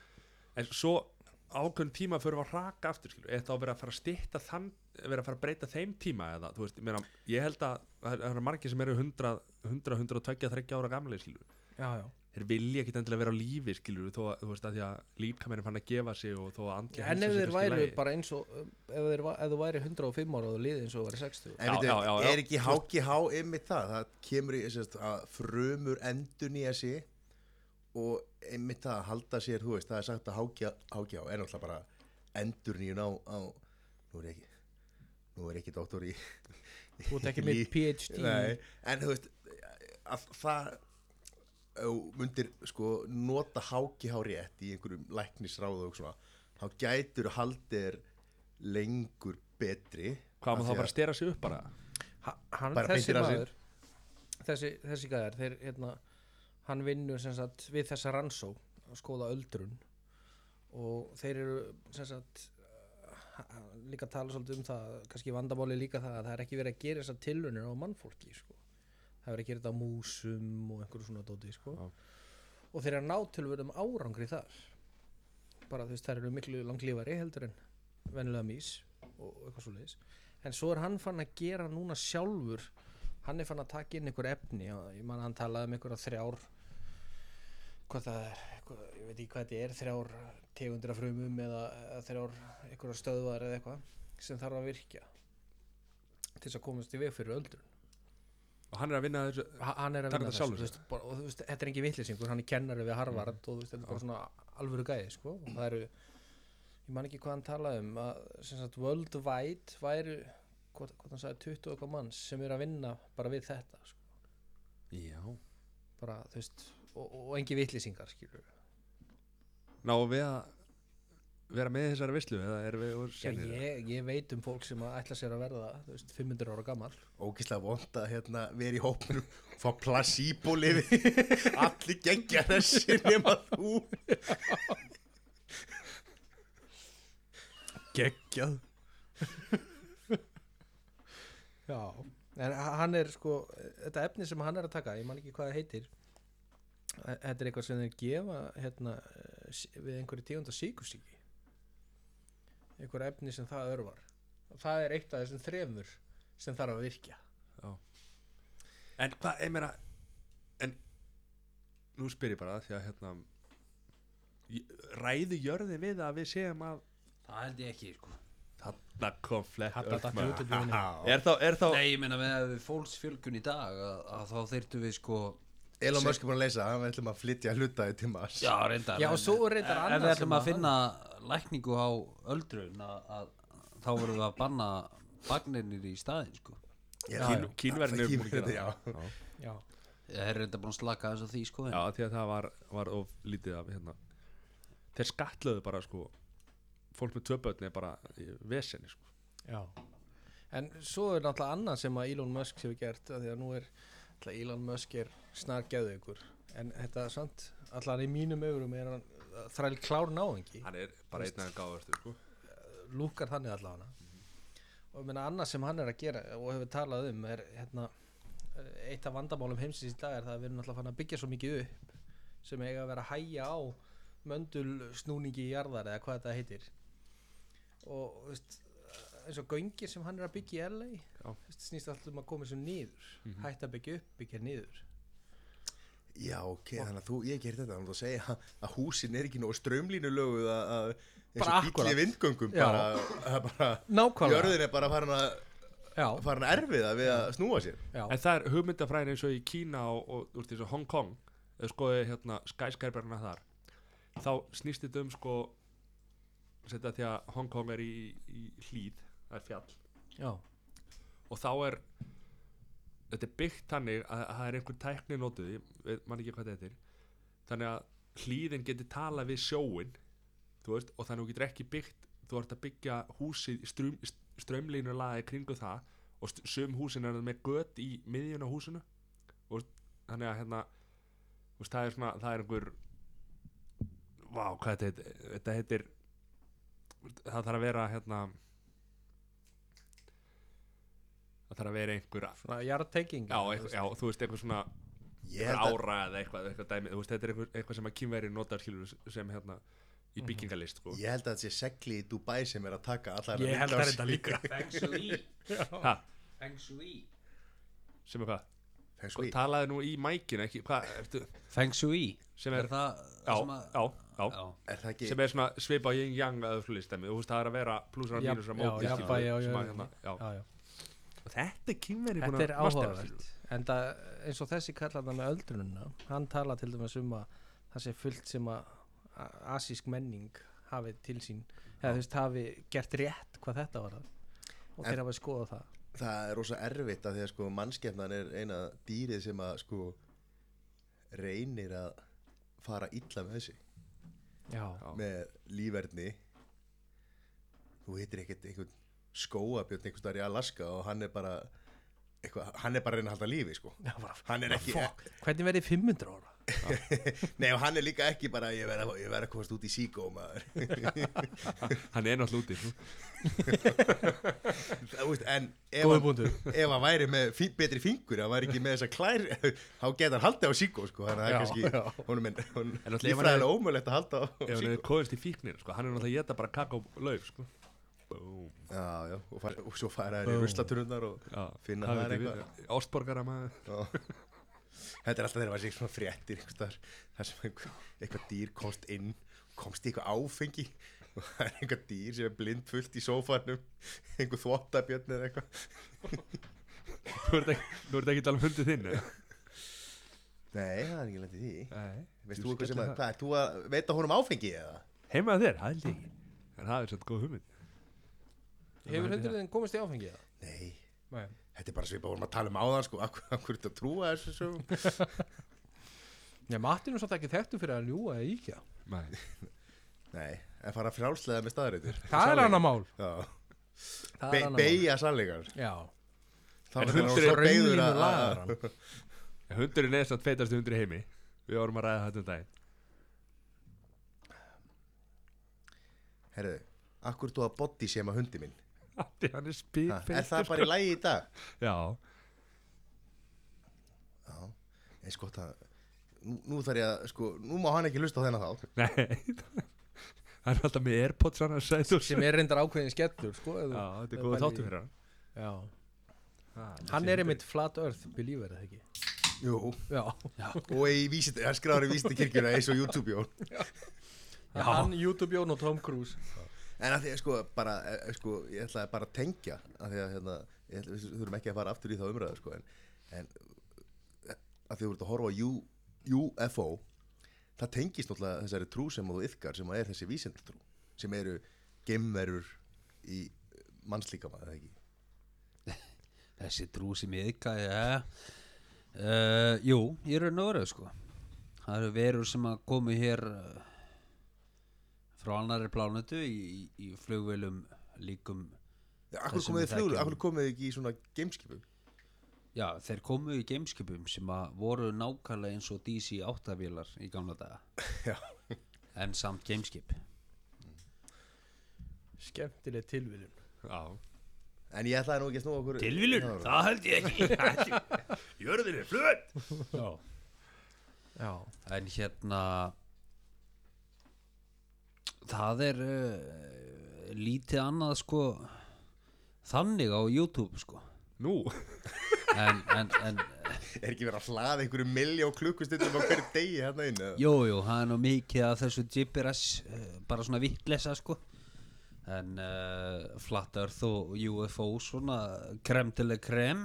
en svo ákveðin tíma fyrir að raka aftur skilur eða þá verið að fara að stytta þann verið að fara að breyta þeim tíma eða þú veist, ég meina, ég held að það er- það eru margir sem eru 100, 100 120, 30 ára gamlega skilur
Já, já,
þeir vilja ekki endilega vera á lífi skilur þó að, þú veist, að því að líkamærin fann að gefa sig og þó að andlega
en
heilsa
ef
sé
þeir
kannski í
væri
lagi.
bara eins og ef, þeir, va- ef þú væri 105 ára og þú liði eins og þú væri 60
En
Já,
veitum,
já, já, já.
er ekki HGH ymmið það, það kemur í sérst, að frumur endur nýja sig og ymmið það að halda sér, þú veist, það er sagt að HGH, HGH er náttúrulega bara endur á, á, nú er ég ekki, nú er ég ekki dóttor í
þú ert ekki með
Lí-
PhD
Nei, en þú veist að það ef þú myndir sko nota hákihá rétt í einhverjum læknisráðu og svona, þá gætur haldir lengur betri
Hvað maður
Af
þá
því
bara að stera sig upp bara?
Ha- hann,
Bara
þessi
beintir að sér.
maður þessi, þessi gæðar þeir, hérna, hann vinnur sem sagt, við þessa rannsó að skoða öldrun og þeir eru sem sagt, ha- ha- líka að tala svolítið um það kannski vandamáli líka það að það er ekki verið að gera þessar tilunir á mannfólki sko. það er verið að gera þetta á músum og einhverju svona dóti sko.
Já.
og þeir eru að ná nátilvöðum árangri þar bara þú veist þær eru miklu langlífari heldur en venjulega mís og eitthvað svo en svo er hann fann að gera núna sjálfur hann er fann að taka inn einhver efni og ég man að hann talaði um einhverja þrjár hvað það er hvað, ég veit ekki hvað þetta er, þrjár tegundra frumum eða, eða þrjár einhverja stöðvar eða eitthvað sem þarf að virkja til þess að komast í veg fyrir öldrun
Og hann er að vinna að þessu
Ha- hann er að
Taka
vinna
þetta
þessu
sjálfur
þú veist, bara, og þú veist, þetta er engin vitlýsingur, hann er kennari við Harvard og þú veist, þetta er bara svona alvöru gæði sko. og það eru, ég man ekki hvað hann talaði um að sem sagt worldwide væru, hvað, hvað hann sagði 20 og eitthvað manns sem eru að vinna bara við þetta sko.
Já
bara, þú veist, og, og, og engin vitlýsingar skilur
Ná við að vera með í þessari vislu eða erum við úr
Já,
senir?
ég, ég veit um fólk sem að ætla sér að verða þú veist, 500 ára gammal
ógislega vond að hérna, vera í hópnum og fá placebo lifi allir gengja þessi nema þú geggjað
Já, en h- hann er sko þetta efni sem hann er að taka, ég man ekki hvað það heitir Þe- þetta er eitthvað sem þeir gefa hérna eh, sí- við einhverju tíunda síkusíki einhver efni sem það örvar og það er eitt af þessum þremur sem þarf að virkja
En hvað, ég meina En Nú spyr ég bara því að hérna ég- Ræði jörði við að við séum að
Það held ég ekki sko
Þarna kom flett
Þarna datt
maður.
útibúinu.
Ha, ha. Er þá, er þá
Nei, ég meina við hefum fólksfjölgun í dag að, að þá þyrtu við sko
Elon Musk er búin að leysa það, við ætlum að flytja hluta í tímas
Já, reyndar
Já,
en-
svo er reyndar
en-
annað
En við ætlum
sem
að
að-
finna lækningu á öldrun að, að þá vorum við að banna bagnirnir í staðin sko
Kín- Kínverðin eru búin að
Kínverðin,
gera það.
já
Já,
Ég er reynda búin að slaka þess að því sko en-
Já, því að það var, var of lítið af hérna Þeir skattlöðu bara sko Fólk með tvöbötni er bara í vesenni sko
já En svo er náttúrulega annað sem að Elon Musk hefur gert af því að nú er náttúrulega Elon Musk er snar geðugur en þetta er sant, allan í mínum augurum er hann þræl klár náðingi
Hann er bara einn aðeins gáðastu sko
lúkar þannig allavega og ég meina annað sem hann er að gera og hefur talað um er hérna eh, eitt af vandamálum heimsins í dag er það að við erum alltaf fann að byggja svo mikið upp sem eiga að vera að hægja á möndul snúningi í jarðar eða hvað þetta heitir og þú veist, eins og göngir sem hann er að byggja í LA
Já. Mhm.
þú veist, snýst alltaf um að koma þessu nýður mm hægt að byggja upp, byggja niður
Já, ok, þannig að þú, ég gerði þetta Þannig að segja að- að húsin er ekki nóg strömlínu löguð að að- eins
Bara
og bíll í
akkúrat.
vindgöngum
Já.
bara, að bara
nákvæmlega
Jörðin er bara farin að
já,
farin að erfiða við að snúa sér
já,
En það er hugmyndafræðin eins og í Kína og, og úr þessu Hong Kong eða skoði hérna skæskærberna þar þá snýst þetta um sko setja því að Hong Kong er í, í hlýð, það er fjall
já,
og þá er þetta er byggt þannig að, að það er einhver tækni notuð, ég veit- man ekki hvað þetta er þannig að hlýðin getur talað við sjóin þú veist, og þannig að þú getur ekki byggt þú ert að byggja húsið í ström, strömlínu laði kringu það og st- sum húsin er með gött í miðjun á húsinu og veist, þannig að hérna þú veist, það er svona, það er einhver vá, hvað þetta heitir þetta heitir það þarf að vera hérna það þarf að vera einhver
svona jarðtenging
já, einhver, já, þú veist, einhver svona
Ég
einhver
held að
ára eða eitthvað, eitthvað dæmi þú veist, þetta er eitthvað, eitthvað sem að kýmveri notar skilur sem hérna í byggingalist sko.
Ég held að þetta sé segli í Dubai sem er að taka allar
ég held að þetta líka
Feng Shui
ha,
Feng Shui
sem er hvað,
Fengi,
sko,
talaði nú í mækinu ekki, hvað, ertu,
Feng Shui
sem er,
það
já,
sem að-
já, já,
já.
Er það ekki
sem er svona svipa á yin yang að öflust dæmi, þú veist, það er að vera plusar og
Já,
mínusar á
já,
móti, skilur,
jafnvægi
sem
á
að,
jörðinni.
hérna, já.
já, já
Og þetta er kýmveri
Þetta er áhugavert En það, eins og þessi kallar með öldrununa Hann tala til dæmis um að það sé fullt sem að a- asísk menning hafi til sín eða þú veist hafi gert rétt hvað þetta var og þeir hafa skoðað það
það er rosa erfitt af því að sko mannskefnan er eina dýrið sem að sko reynir að fara illa með þessi
Já,
Já.
með lífverðni þú hittir ekkert einhvern skóabjörn einhvern staðar í Alaska og hann er bara eitthvað, hann er bara að reyna að halda lífi sko
Já bara,
hann er ekki,
hvernig verið 500 ára?
nei og hann er líka ekki bara ég verð að, ég verð að komast út í síkó maður
hann er náttúrulega úti sko.
Það, veist, en ef
Góður
hann,
punktur.
ef hann væri með fí, betri fingur ef hann væri ekki með þessa klær þá geta hann haldið á síkó sko, þannig að
Já,
það er kannski honum en,
En
honum,
náttúrulega ef hann
lífræðilega ómögulegt að halda á
ef hann
síkó
er kóðist í fíknir, sko, hann er náttúrulega að geta bara kakó lauf, sko Búm.
já, já, og, far, og svo fara þær í ruslaturnar og
Já,
finna
það
það
veit ég
eitthvað.
við. Ástborgara maður
Já. Þetta er alltaf þegar maður sé svona fréttir einhvers staðar, þar sem einhver, eitthvað dýr komst inn komst í eitthvað áfengi og það er einhver dýr sem er blind fullt í sófanum einhver þvottabjörn eða eitthvað
Þú ert ekki, þú ert ekki talað um hundið þinn
Nei, það er ekki lendið því Veist
Veist
þú eitthvað sem að, hvað, ert þú að veita honum áfengi eða?
Heima þér, það held ég ekki. En það er svolítið góð hugmynd
Hefur hundur þeim komist í áfengi það?
Nei,
Nei
þetta er bara svipað vorum að tala um áðan sko, akkur, akkur þetta trúa þessu sögum
Nei, Martin er svolítið ekki þekktu fyrir að ljúga eða íkja
Nei.
Nei, en fara frjálslega með staðarindur
Það er annað mál
Já, Be
Það er annað mál
beigja sannleikar
Já,
Þá
En
er hann
hundurinn-
svo beigður
Raunlínu
að
lagar
að-
hann.
En Hundurinn er samt feitast hundur í heimi Við vorum að ræða þetta um daginn
Herðu, akkur þú að boddi sem að hundi minn
Addi, hann er
Ha, er
spýrfeistur
sko.
það bara í lægi í dag?
Já,
Já, eins gott að sko, nú, nú þarf ég að, sko, nú má hann ekki hlusta á þennan þá
nei Hann er alltaf með Airpods hann að segja þú
sem er reyndar ákveðin skellur sko, ef þú-
Já, þetta
ef
er
þú
góða
pælir
þáttu
í-
fyrir hann
já.
Ah,
hann er
þessi-
einmitt flat earth believer eða ekki
Jú,
já.
og í vísit, hann skráður í vísitakirkjuna eins og YouTube jón
já. hann, YouTube Jón og Tom Cruise
En að því, sko, bara, eh, sko, ég ætlaði bara að tengja að því að, hérna, ég ætla, við þurfum ekki að fara aftur í þá umræðu, sko, en, en eh, að því þú ert að horfa á U, UFO, það tengist náttúrulega þessari trú sem þú yfkar sem er þessi vísindatrú, sem eru gemverur í eh, mannslíkama, eða ekki?
Þessi trú sem ég yðka, já. Uh, jú, ég er nöðröð, sko. Það eru verur sem að komu hér uh, frá annari plánutu í, í, í flugvélum líkum.
Ja, akkur
Þessum
komið
við
þið flugur,
þekkjum.
akkur komið þið ekki í svona gameskipum?
Já, þeir komu í gameskipum sem að voru nákvæmlega eins og DC 8-vélar í gamla daga.
Já.
En samt gameskip.
skemmtileg tilviljun
Já,
En ég ætlaði nú ekki að snúa okkur
Tilvílun, það held ég ekki.
jörðin er flugur
Já.
já.
En hérna, það er uh, lítið annað sko þannig á YouTube sko.
Nú,
En, en, en,
Er ekki verið að hlaða einhverju miljó klukkustundum á hverju degi hérna inn? eða?
Jú, jú, það er nú mikið af þessu gibberass, eh, bara svona vittlesa sko en uh, Flat Earth og UFO svona krem til að krem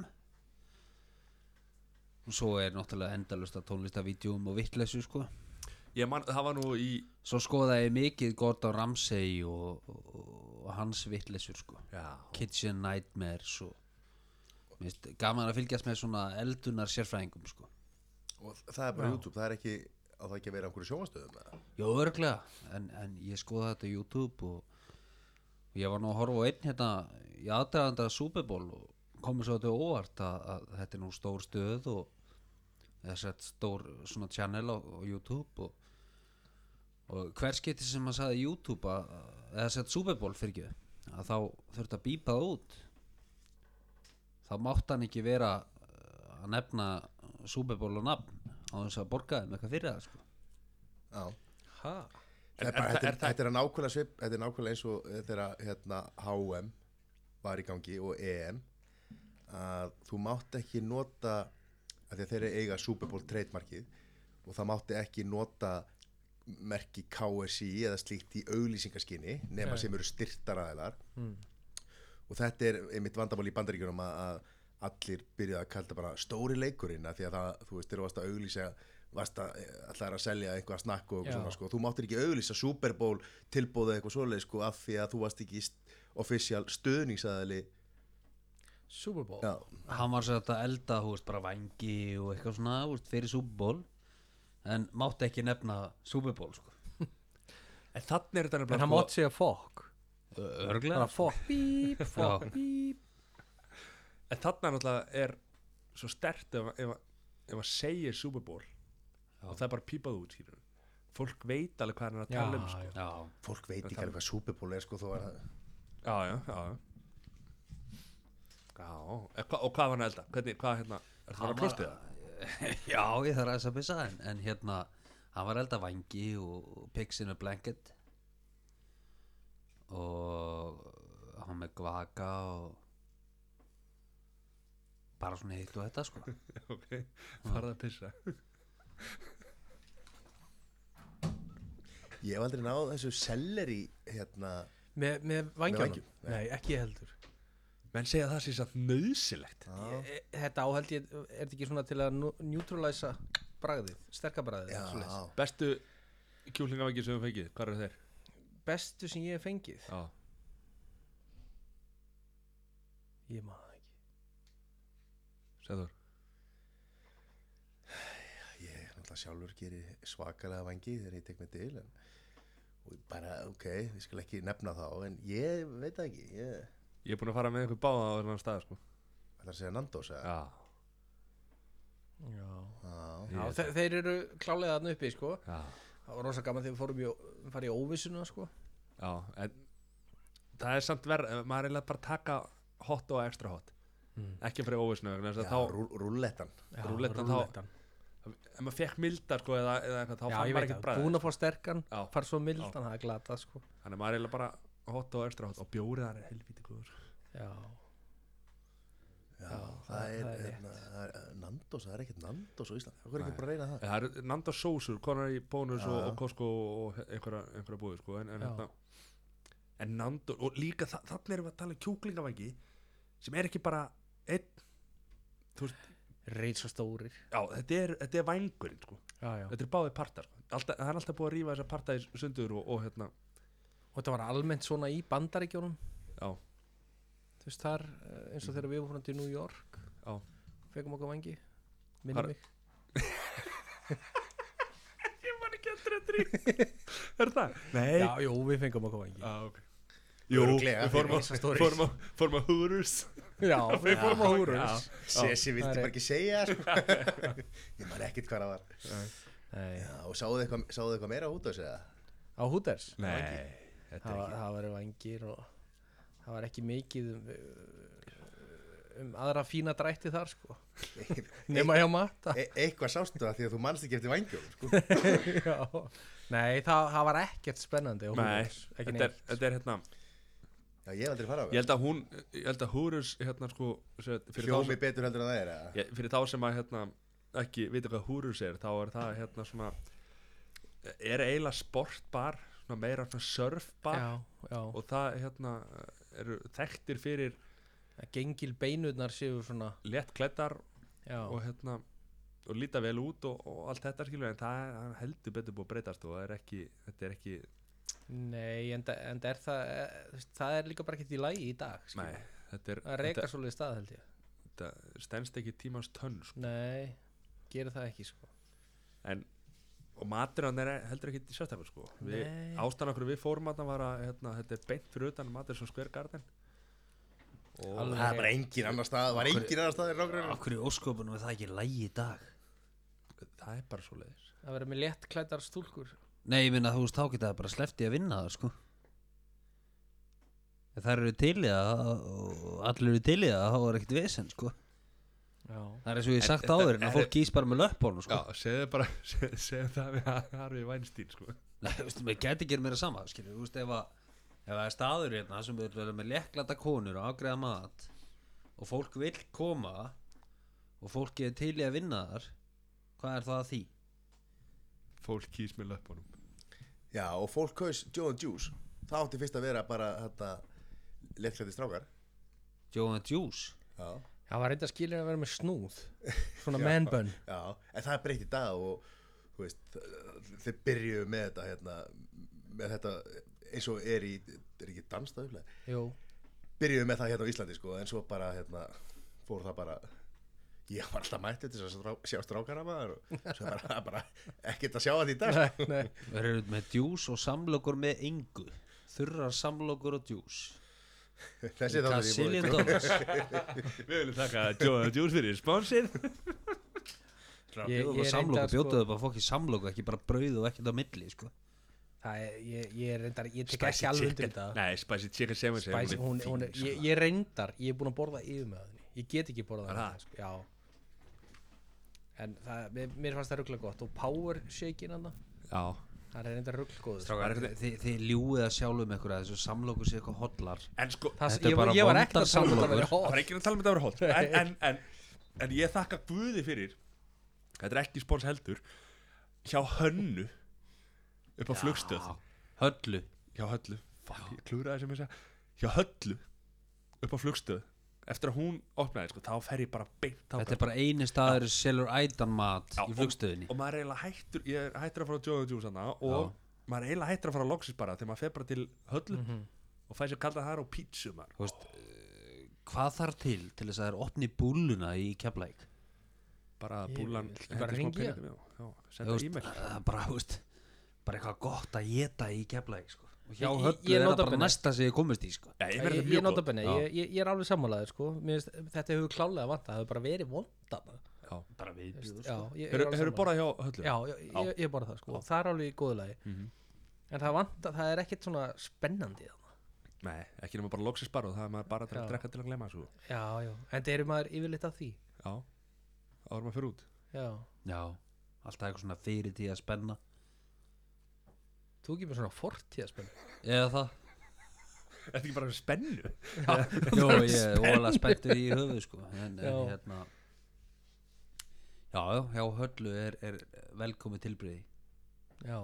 og svo er náttúrulega endalust að tónlistavídjum og vittlesu sko
ég man, það var nú í
svo skoðaði ég mikið Gordon Ramsay og, og, og hans vittlesur sko
Já,
Kitchen Nightmares og Mér finnst gaman að fylgjast með svona eldunar sérfræðingum sko
Og það er bara YouTube, það er ekki, á það ekki að vera á einhverju sjónastöðum, eða?
Jó, örglega, en, en ég skoði þetta á YouTube og og ég var nú að horfa á einn hérna í aðdraganda Super Bowl og komið svo þetta óvart að, að þetta er nú stór stöð og þess að stór svona channel á, á YouTube og, og hver skipti sem maður sagði YouTube að, að- eða sett Super Bowl fyrir ekki að þá þurfti að bípa það út þá mátti hann ekki vera eh, að nefna Super Bowl og nafn á þess að borgaði með eitthvað fyrir það sko
Já.
ha
Það er bara, þetta, er, þetta er að nákvæmlega svip, þetta er nákvæmlega eins og þetta er að hérna, HM var í gangi og EM að þú mátt ekki nota af því að þeir eru eiga Super Bowl trademarkið og það mátti ekki nota merki KSI eða slíkt í auglýsingaskinni nema
Nei.
sem eru styrtaraðilar
Mm.
og þetta er einmitt vandamál í bandaríkjunum að, að allir byrja að kalla bara stóri leikurinn af því að það, þú veist, þeir varst að auglýsa varst að, allar að selja eitthvað snakk og
Já.
eitthvað svona sko, þú máttir ekki auglýsa Super Bowl tilbúðu eitthvað svoleið sko af því að þú varst ekki st- official stöðningsaðali
Super Bowl
já,
hann var sér að elda þú veist, bara vangi og eitthvað svona þú veist, fyrir súbból en mátti ekki nefna súbból sko.
en þannig er þetta
en
nefnilega
hann
sko-
mátt segja fokk
örglega
bara fokk, bíp, fokk,
Já.
bíp
En þarna náttúrulega er svo stert ef, ef, ef að segja Super Bowl og það er bara pípað út skilur. fólk veit alveg hvað hann er að tala um sko.
já.
já,
fólk veit ekki alveg hvað Super Bowl er sko þó að
já, já, já já, e, hva, og hvað var hann að elda? Hvernig, hvað hérna, er það að klostið það?
já, ég þarf aðeins að pissa en, en hérna, hann var að elda vangi og og pigs in a blanket og hann var með gvaka og bara svona hitt og þetta sko
ok, farað að pissa
ég hef aldrei náð þessu selleri hérna,
með, með
vængjum,
vangjanum,
nei.
nei, ekki ég heldur
menn segja að það sé satt nöðsilegt
já,
E- þetta áheld ég, er þetta ekki svona til að nú- neutralæsa bragðið, sterka bragðið
já,
svoleiðis?
bestu kjúlingavækir sem við fengið, hvað eru þeir?
bestu sem ég hef fengið
Já.
ég maður það ekki
Sæður.
ég er náttúrulega sjálfur gerir svakalega vangi þegar ég tek mig til en, og ég bara, ok, við skal ekki nefna þá en ég veit það ekki ég
ég er búin að fara með einhver báða á þennan stað sko.
ætlar að segja Nandos eða?
já,
já.
Já.
Já, þe þeir eru klálega þarna uppi sko.
já
það var rosa gaman þegar við fórum í, ó- farið í óvissuna sko.
Já, en það er samt verð maður er eiginlega bara að taka hot og extra hot
Mm.
ekki fyrir óvisnu vegna þess að
Já,
þá,
rú, rúllettan
rúllettan þá- ef maður fekk mildar sko eða, eða eitthvað, þá
Já,
fann
ég
maður
veit
ekkert
það,
bræð
búin að fá sterkan
Já.
far svo mildan, það er glatað sko
þannig maður er eiginlega bara hot og extra hot og bjórið þar er helvítið góður
Já,
Já,
Já,
það er,
það er
hérna, það er uh, Nandos, það er ekkert Nandos á Íslandi Hvað er ekki bara að reyna það?
það eru nanda sósur, konar í bónus og,
Já.
og Costco og einhverja, einhverja búið sko, en, en,
Já.
hérna, en nando og líka þa þannig erum við að tala um kjúklingavangi sem er ekki bara einn,
reyð svo stórir
já, þetta er, þetta er vængurinn sko.
Já, já
þetta er báði partar sko. alltaf, það er alltaf búið að rífa þessa partar í sundur og, og hérna,
Og þetta var almennt svona í bandaríkjónum
já,
Þú veist þar, eh, eins og þegar við vorum til New York
Já.
Fegum okkur vangi
Hvar-
Minni mig
er það? nei,
Já, jú, við fengum okkur vangi
ah, ok Jú,
Örugglega,
við fórum á,
Risa stories.
fórum á, fórum á húrurs
Já, við fórum á
Já.
húrus
Sessi vildi
Það er-
bara ekki segja sko. Ég man ekkert hvað það var
Nei,
Já, og sáðu eitthvað, sáðu eitthvað meira út á þessu eða?
á húters
Nei, þetta
það,
er
var-
ekki
það var vangir og það var ekki mikið um, uh, um aðra fína drætti þar sko nema hjá matta
E eitthvað sástu það því að þú manst ekki eftir vangjum sko.
Já. nei það, það var ekkert spennandi á
Nei,
Húnavers, ekki
þetta er,
neitt
þetta er hérna
Já, ég hef aldrei farað á
Ég held að hún, ég held að húrurs hérna sko sem sagt, fyrir, þá
Hljómi
sem,
betur heldur en það er eða?
ég, fyrir þá sem að hérna ekki vita hvað húrurs er þá er það hérna svona er eiginlega sportbar svona meira svona surfbar
já, já,
og það hérna eru þekktir fyrir
að gengil beinurnar séu svona
léttklæddar
já,
og hérna og líta vel út og, og allt þetta skilur en það er það er heldur betur búið að breytast og það er ekki, þetta er ekki
nei, en, en er það eh, þú veist, það er líka bara ekkert í lagi í dag skilur
nei,
við.
þetta er,
að
þetta,
reka svolítið stað held ég
þetta stendst ekki tímans tönn sko.
nei, gera það ekki sko
en og matur hann er heldur ekki sérstæður sko. Við-
Nei.
ástæðan okkur við fórum að var að hérna, þetta er beint fyrir utan matur sem Square Garden og
Alveg
Það var
rétt.
engin annar stað, var engin annar stað í nágrunum
Af hverju ósköpunum er það ekki lægi í dag?
það er bara svo leiðis
að vera með léttklæddar stúlkur
Nei, ég minna þú veist, þá geta það bara sleppti að vinna það, sko Ef Það eru til í það og allir eru til í það, þá er ekkert vesen, sko
já,
Það er eins og ég hef sagt
þetta
áður en
er-
að fólk gís bara með löppbónu, sko
Já, segðu bara, segðu, segðu það við Harfi Weinstein sko.
Nei, þú veist, maður gæti ekki verið meira sama, skilju, þú veist, ef að ef það er staður hérna sem við erum með leklata konur og afgreða mat og fólk vill koma og fólk er til í að vinna þar hvað er það að því?
fólk kýs með löpunum
Já, og fólk kaus Joe and Juice Það átti fyrst að vera bara þetta Lettklæði strákar
Joe and Juice?
Já,
það var reynda skilin að vera með snúð svona man bun
já En það er breytt í dag og þú veist, þ- Þeir byrjuðu með þetta hérna, með þetta eins og er í er ekki dansstað
Jú,
byrjuðu með það hérna á Íslandi sko, en svo bara hérna, fór það bara ég var alltaf mættið til þess að strá- sjá strákara maður og svo bara, það er bara ekkert að sjá það í dag
nei, nei
Við erum með Juice og samlokur með engu þurrar samlokur og Juice
þessi þá er ég
Kassilin
búið
Dollars
Við viljum þakka Jóða Júls fyrir sponsið
Ég-
Bjóðu
ég
bara
er
samlokur,
reyndar, sko-
bjóðu bara fólki samlokur ekki bara brauð og ekkert á milli, sko
Það er, ég, ég er reyndar, ég tek ekki alveg undir þetta
Nei, Spicy Chicken Sandwich er-
Spicy, hún, hún er,
fín, sko.
ég, ég er reyndar, ég er búin að borða yfir með henni Ég get ekki borða
Er
henni, sko, já En það, mér, mér fannst það ruggla gott Og power shakein hann
sko. Já,
Það er reyndar ruggla góð
Strákar, þið, þið, þið ljúið að sjálfum ykkur að þessu samlokur sé eitthvað hotlar
en sko
Það,
Þetta er
ég,
bara
ég var
vondar
ekkert að tala um þetta
samlokur.
verið
Það
hótt
var ekki að tala um þetta að vera hótt en, en, en, en ég þakka Guði fyrir Þetta er ekki spons heldur Hjá Hönnu Upp á flugstöð
Höllu
Hjá Höllu Fuck, ég klúraði sem ég segja Hjá Höllu Upp á flugstöð Eftir að hún opnaði sko, Þá fer ég bara beint á
Þetta er bara eini staður sem selur ædan mat í flugstöðinni
og, og maður er eiginlega hættur Ég er hættur að fara á Jóða Jús hana Og maður er eiginlega hættur að fara á Loxis bara Þegar maður fer bara til Höllu
Mhm.
Og fæ sér kallað þar á pítsu maður
Þú veist, eh, Hvað þarf til til þess að það er opni búluna í Keflæk?
Bara
Ég-
búlan
viltu bara
hendi smá
hringja?
peningum, já, já,
Þú
Senda
veist,
e-mail
það er bara, þú veist, bara eitthvað gott að geta í Keflæk sko. og hjá
Ég- ég-
höllu
ég
er það
nota
bara
bene-
næsta sem ég komist í sko.
Nei, ég meina
Ég,
þetta er
ég,
mjög
nota
gott.
bene,
Já.
ég, ég, ég er alveg sammálaðið sko. Mér finnst- Þetta hefur klálega vant Það hefur bara verið vondan
Já.
bara við
sko. Hefur- Hefurðu borðað hjá Höllu?
Já, já, ég, ég, ég
Mhm.
borða það sko. Það er alveg í góðu lagi En það, vant, það er ekkert svona spennandi þarna.
Nei, ekki nema bara loksins bara og það er maður bara að
Já.
drekka til að glemma svo.
já, já, en það eru maður yfirleitt að því
Já, þá er maður fyrir út.
já,
Já, alltaf eitthvað svona fyrirtíð að spenna
þú ekki með svona fortíðaspennu
Eða það
Þetta er ekki bara spennu.
Jó, ég er óalega spenntur í höfuð sko en,
Já.
en hérna Já, já, hjá höllu er, er velkomið tilbriði
já,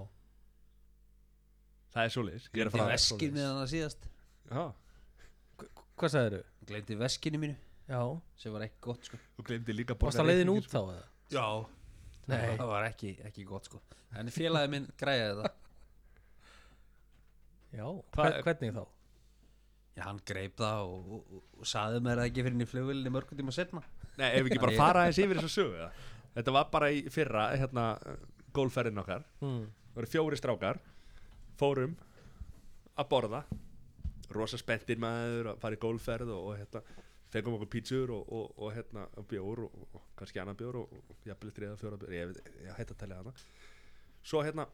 Það er svoleiðis. Ég er að
Gleymdi
fara.
Yes.
veskin
svoleiðis.
með hana síðast
Já,
hvað sagðir þau?
Gleymdi veskinu mínu
já,
sem var ekki gott sko
þú glemdi líka að
varst að leiðin út þá eða?
Já
Nei.
Það var ekki, ekki gott sko En félagi minn græði þetta
já,
Hvað-
hver, hvernig þá?
Já, hann greip það og, og, og, og saði mér það ekki fyrir henni í flugvölinni mörgum tíma setna
Nei, ef við ekki bara fara aðeins yfir þess að sögu það. Þetta var bara í fyrra, hérna, gólferðin okkar.
Mm.
Það voru fjóri strákar, fórum að borða, rosa spenntir maður að fara í gólferð og, og hérna, fengum okkur pítsur og, og, og hérna, og bjór og, og kannski annan bjór og, og jafnvel þriða, fjóra bjór, ég, veit- ég hætti að tala hana. Svo hérna,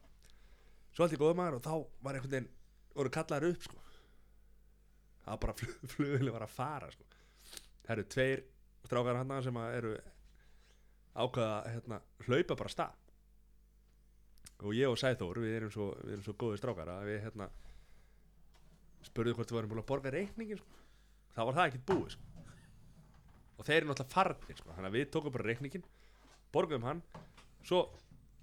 svo allt í góðum maður og þá var einhvern veginn, voru kallaðar upp sko. Það var bara flug, flugvili var að fara sko. Það eru tveir strákar hann sem að eru ákvaða hérna, hlaupa bara af stað og ég og Sæþór, við erum svo, við erum svo góðir strákar að við hérna spurðum hvort við varum búin að borga reikningin sko. þá var það ekkert búið sko. og þeir eru náttúrulega farnir sko. þannig að við tókum bara reikningin borgum hann, svo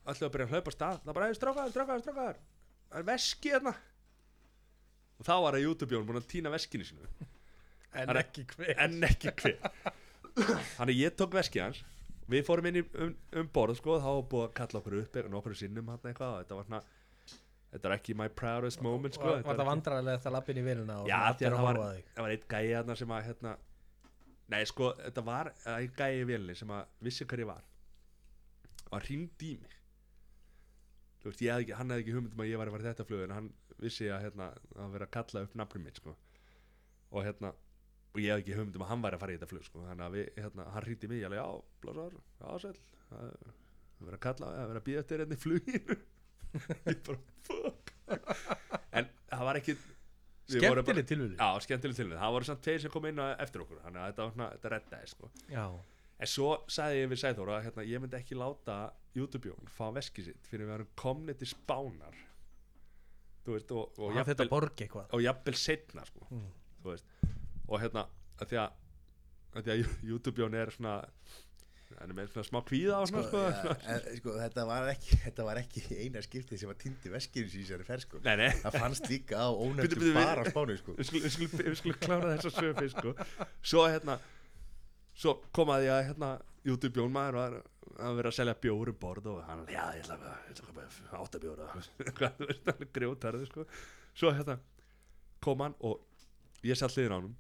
ætlum við að byrja að hlaupa af stað, það bara, "Hey, strákar, strákar, strákar það er veski hérna og þá var að YouTube-jón búin að týna veskinu sinu
en ekki hver
en ekki hver þannig að ég tók veskið hans við fórum inn í, um, um borð sko, þá var búið að kalla okkur upp eitthvað nokkur sinnum hann eitthvað og þetta var svona þetta var ekki my proudest moment sko,
var,
þetta
var það vandræðilegt að lappin í velina og
já,
svona
því
allir
að
að
það var,
horfa á þig
það var einn gæi þarna sem að hérna, nei sko, þetta var það einn gæi í vélinni sem að vissi hver ég var og hann hringdi í mig þú veist, ég hafði ekki, hann hefði ekki hugmynd um að ég var að fara í þetta flug en hann vissi að hérna, það var verið að kalla upp nafnum mitt sko. og hérna og ég hafði ekki hugmynd um að hann væri að fara í þetta flug sko. þannig að við, hérna, hann hringdi í mig ég alveg, já, blásar, já, sæll það er verið að kalla, það er verið að býða eftir hérna í fluginu ég bara, fuck en það var ekki við vorum bara-
skemmtileg tilvili
Já, skemmtileg tilvíð, það voru samt tveir sem kom inn á eftir okkur, þannig að þetta var svona, þetta reddaði sko.
já,
En svo sagði ég við Sæþóra að hérna, ég myndi ekki láta YouTube-jón fá veskið sitt fyrir við erum komni til spánar Þú veist, og, og,
og hann Ah, þetta borgi eitthvað
og jafnvel setna sko.
Mm.
Þú veist, og hérna að því að, að, því að YouTube-jón er svona hann er með svona smá kvíða á
Sko,
svona sko,
ja, en, sko, þetta, var ekki, þetta var ekki eina skiptið sem að týndi veskinu sín í þessari ferð sko.
Nei, nei,
það fannst líka á
Bíddu,
ónefndu
bíddu,
bara
bíddu.
á spánu sko.
við skulum skul, skul, skul klára þess að sögum fyrst sko. svo hérna svo kom að ég að hérna YouTube Bjón maður var að vera að selja bjór um borð og hann, já ég ætla að ég ætla að kaupa átta bjór og eitthvað, þú veist, hann grjótarði sko. svo hérna kom hann og ég satt hliðin á hann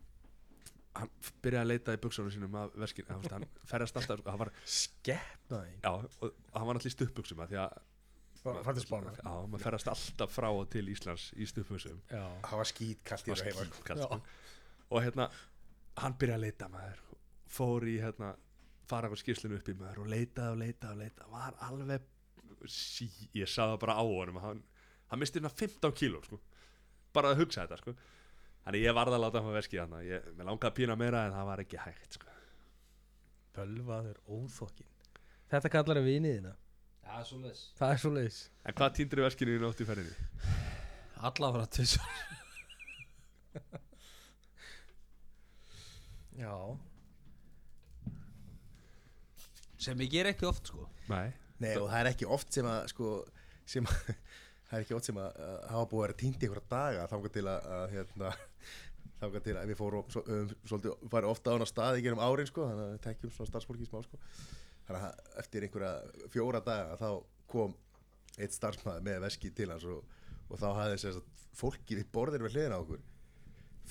hann byrjaði að leita í buksunum sínum að verskinu, hann, hann ferðast alltaf sko. hann var,
skeppnaði
já, og, og hann var allir stuppbuksum að því að
fannst þið spána
já, maður ferðast alltaf frá og til Íslands í stuppbuksum
já,
það var skýt kallt í
var
þessu heima sko.
skítkalt sko. og hérna hann byrjaði að leita maður fór í hérna fara á skýrslinu upp í maður og leitaði og leitaði og leitaði var alveg sí, ég sá það bara á honum hann, hann misti hérna 15 kíló sko. bara að hugsa þetta sko. þannig ég varð að láta hann veskið hann ég, mér langaði að pína meira en það var ekki hægt sko.
bölvaður óþokkin þetta kallar að viniðina
Já, svo leis
það er svo leiðis
en hvað týndir veskinu í nótt í ferðinni?
Alla frá tvisvar
já,
Sem ég ger ekki oft sko
Nei.
Nei, og það er ekki oft sem að sko, sem að það er ekki oft sem að að hafa búið að vera týndi ykkur daga þangað til að, að hérna þangað til að við fórum svo- um, svolítið farið ofta á hana staði gerum árin sko þannig að við tekjum svona starfsfólki í smá sko þannig að eftir einhverja fjóra daga þá kom eitt starfsmaður með veski til hans og, og þá hafði þess að fólki við borðir við hliðina á okkur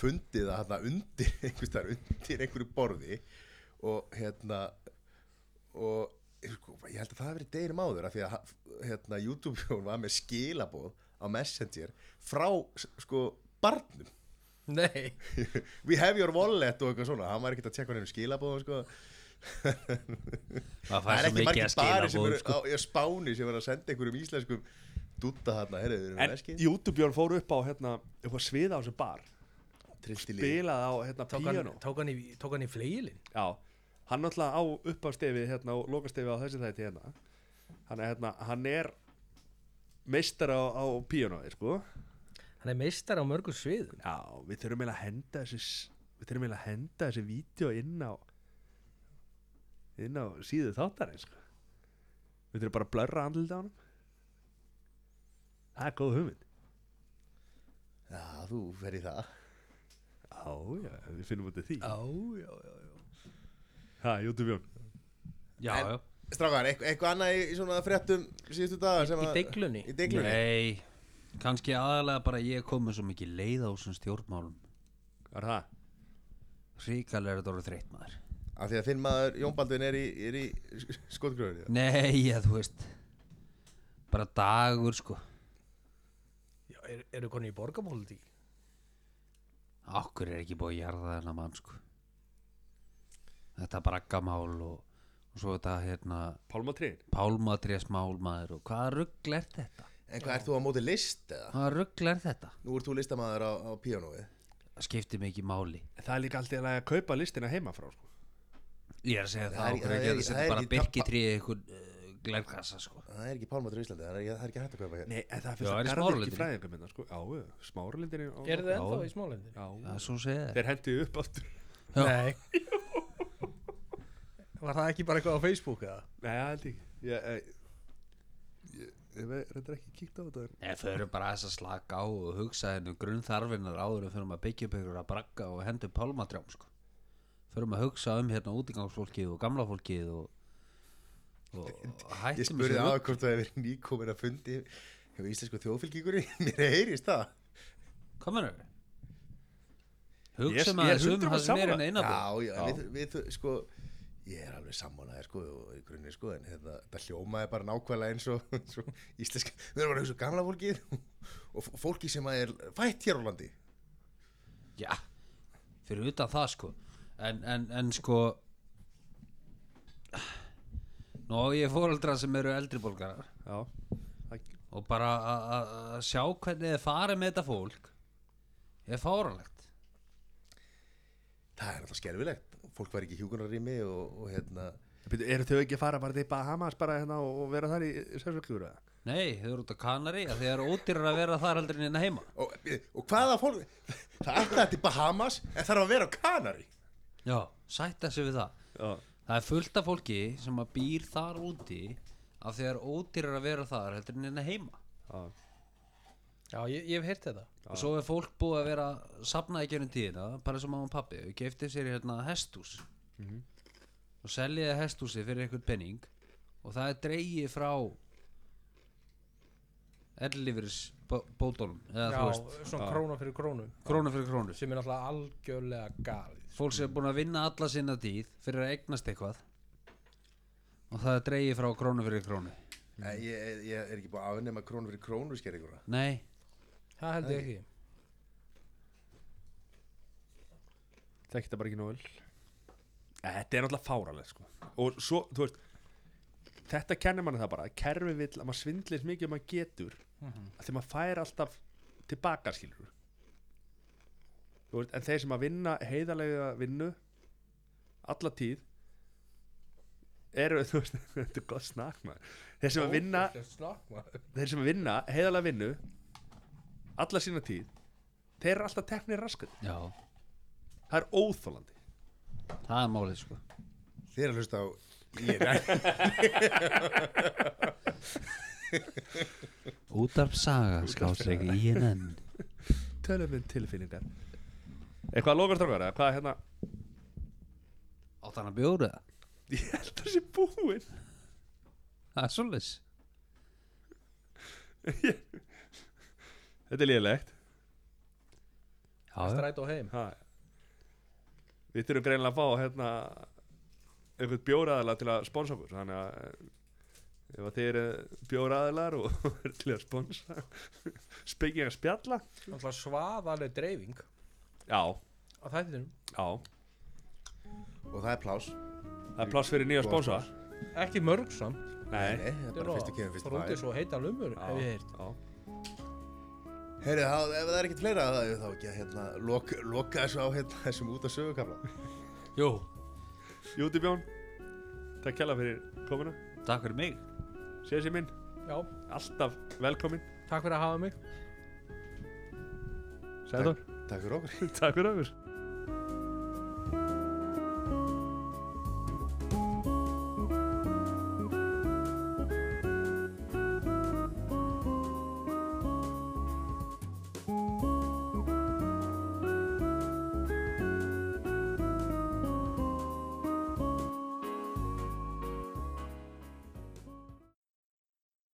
fundið að hérna undir einhvers þar undir einhverju borði og hérna og sko, ég held að það hafi verið deginum áður af því að hérna, YouTube hún var með skilaboð á Messenger frá sko barnum
nei
we have your wallet og eitthvað svona hann var ekkert að tjekka hann um skilaboð sko.
Það
það
fær
er
svo
ekki
mikið
margir
að skila
bari sem
bóð
eru
sko
á á spáni sem er að senda einhverjum íslenskum dutta þarna, heyrðu, við erum
en
veski
YouTube Björn fór upp á hérna, upp á sviða á þessu bar
Trilti líf
Bilað á hérna
tók hann,
piano
tók hann, í, tók hann í fleilin
Já, hann náttúrulega á uppafstefið hérna og lokastefið á þessi þætti hérna Hann er, hérna, hann er meistar á, á píanóði sko
hann er meistar á mörgum sviðum
Já, við þurfum eiginlega að henda þessi s- við þurfum eiginlega að henda þessi vídeo inn á inn á síðu þáttarins sko. Við þurfum bara að blörra andlut á hann Það er góð hugmynd
Já, þú fer í það
Já, já, við finnum út af því
já, já, já
Ha, YouTube Jón
Já,
En-
já
Strákar, eitthvað, eitthvað annað í, í svona fréttum síðustu dagar sem
í
að
deiglunni?
Í deiglunni
Nei, kannski aðalega bara ég kom með svo mikið leið á þessum stjórnmálum
Er það?
Ríkalega er þetta orðið þreytt maður
Af því að þinn maður Jón Baldvin er í, er í skotgröður
Nei, já, þú veist Bara dagur, sko
Já, er, eru konu í borgarpólitík?
Okkur er ekki búið að jarða þennan mann, sko Þetta braggamál og, og svo þetta, hérna
Pálmatriðin?
Pálmatrésmál maður og hvaða rugl er þetta?
En hvað, ert þú á móti list eða?
Hvaða rugl er þetta?
Nú ert þú listamaður á, á píanóið
Það skiptir mig ekki máli
Það er líka alltaf að kaupa listina heima frá sko.
Ég er að segja það,
Það er-
okkur er
það er-
ekki
það
að
er
setja bara
ekki-
birkitrið einhvern uh, glerkassa sko
Það er ekki pálmatur í Íslandi, það er ekki, það er ekki hægt að kaupa hérna. hér
Nei, en það
Já,
finnst
er
að
í
garði
smáralindinni.
ekki fræðingum hérna, sko. Já, smáralindinni á-
Er það
Já.
ennþá í smálendinu?
Já,
Það er svo segið
þeir hendu upp aftur
Já.
Nei Var það ekki bara eitthvað á Facebook eða?
Nei, það held ég ekki Ég, ég, ég, ég veit- reyndar ekki kíkt á þetta en-
Nei, förum bara aðeins að slaka á og hugsa hennu grunnþarfinnar áður en förum að byggja upp ykkur að bragga og hendur pálmatrjám sko. Förum að hugsa um hérna útingangsfólkið og gamla fólkið og, og og
Ég
hættum
spurði á
þessu rugl.
hvort það hefur nýkomin að fundi Hefur íslensku þjóðfylgjingur Mér heyrist það
Hvað mennur við?
Ég-
Hugsa
ég er
maður um
100%
það sem er
sammála.
henni
Já,
einabúð
já, Við, við, sko Ég er alveg sammálaðir, sko, og í grunni, sko, en þetta, þetta hljómaði bara nákvæmlega eins og, eins og íslenska, við erum bara eins og gamla fólkið og f- fólki sem að er fætt hér á landi.
Já, fyrir utan það sko En, en, en sko Nú á ég fóreldra sem eru eldri bólgarar
Já, það,
og bara að- að að sjá hvernig þið farið með þetta fólk er fáralegt
Það er alltaf skerfilegt, fólk var ekki í hjúkunarrými og, og hérna,
Býtu, eru þau ekki að fara bara til Bahamas bara hérna og og vera þar í sérsvöldkjúru eða?
Nei, þau eru út á Kanari að þið eru ódýrar að vera þar aldrei neina heima
og, og hvaða fólk, það ætlaði til Bahamas en þarf að vera á Kanari.
Já, sætta sig við það
Já,
Það er fullt af fólki sem að býr þar úti að þið eru ódýrar að vera þar heldur en neina heima
já,
Já, ég, ég hef heyrt þetta
og svo er fólk búið að vera safnaði gerum tíðina, bara sem mamma og pappi og gefti sér hérna hestús og seljiði hestúsi fyrir einhvern penning og það er dreigið frá ellifyrs bótónum eða þú veist,
Já, svona króna fyrir krónu
krónu fyrir krónu
sem er náttúrulega algjörlega galið
fólk sem er búin að vinna alla sinna tíð fyrir að eignast eitthvað og það er dreigið frá krónu fyrir krónu
Mm. Ég, ég er ekki búið að afnema krónu fyrir krónu skerðinguna.
nei,
Það held ég ekki
það geta bara ekki nóg vel Eh, Þetta er náttúrulega fáraleg sko. og svo, þú veist þetta kennir manni það bara, kerfi vill að maður svindlist mikið og maður getur mm þegar maður fær alltaf tilbaka skilur þú veist, en þeir sem að vinna heiðalega vinnu alla tíð eru, þú veist, þetta er gott snakk maður þeir sem að vinna
Ógeðslegt snakk, maður.
þeir sem vinna heiðalega vinnu alla sína tíð þeir eru alltaf teknir raskat
já,
það er óþólandi
það er málið sko
Þið er að hlusta á, ég er,
útarpsaga, skásreg í henn
tölum við tilfinningar eitthvað lokar strókar eða hvað hérna
átt hann að bjóra það
ég held að það sé búinn
það er svolítið
þetta er liðlegt
Já, já.
Strætó heim
ha. við þurfum greinilega að fá hérna einhvern bjóraðala til að sponsa okkur þannig að eh, ef að þið eru bjóraðalar og eru til að sponsa spekja að spjalla
Náttúrulega svaðaleg dreifing
já,
á þættinum
já,
og það er plás.
það er pláss fyrir nýja sponsa
Ekki mörg samt
nei,
Nei, það er bara fyrstu kemur, fyrstu
Rúti
fær.
svo heita lumur, hef ég heyrt
já.
Heyrðu, þá- ef það er ekkert fleira þá þá ekki að hérna, loka, loka þessu á hérna, þessum út af sögukafla.
Jú,
Júti Bjón Takk kjalla fyrir komuna
takk fyrir mig
Sér sér minn,
Já,
alltaf velkomin
takk fyrir að hafa mig
Sæður,
Takk fyrir okkur.
takk fyrir öfur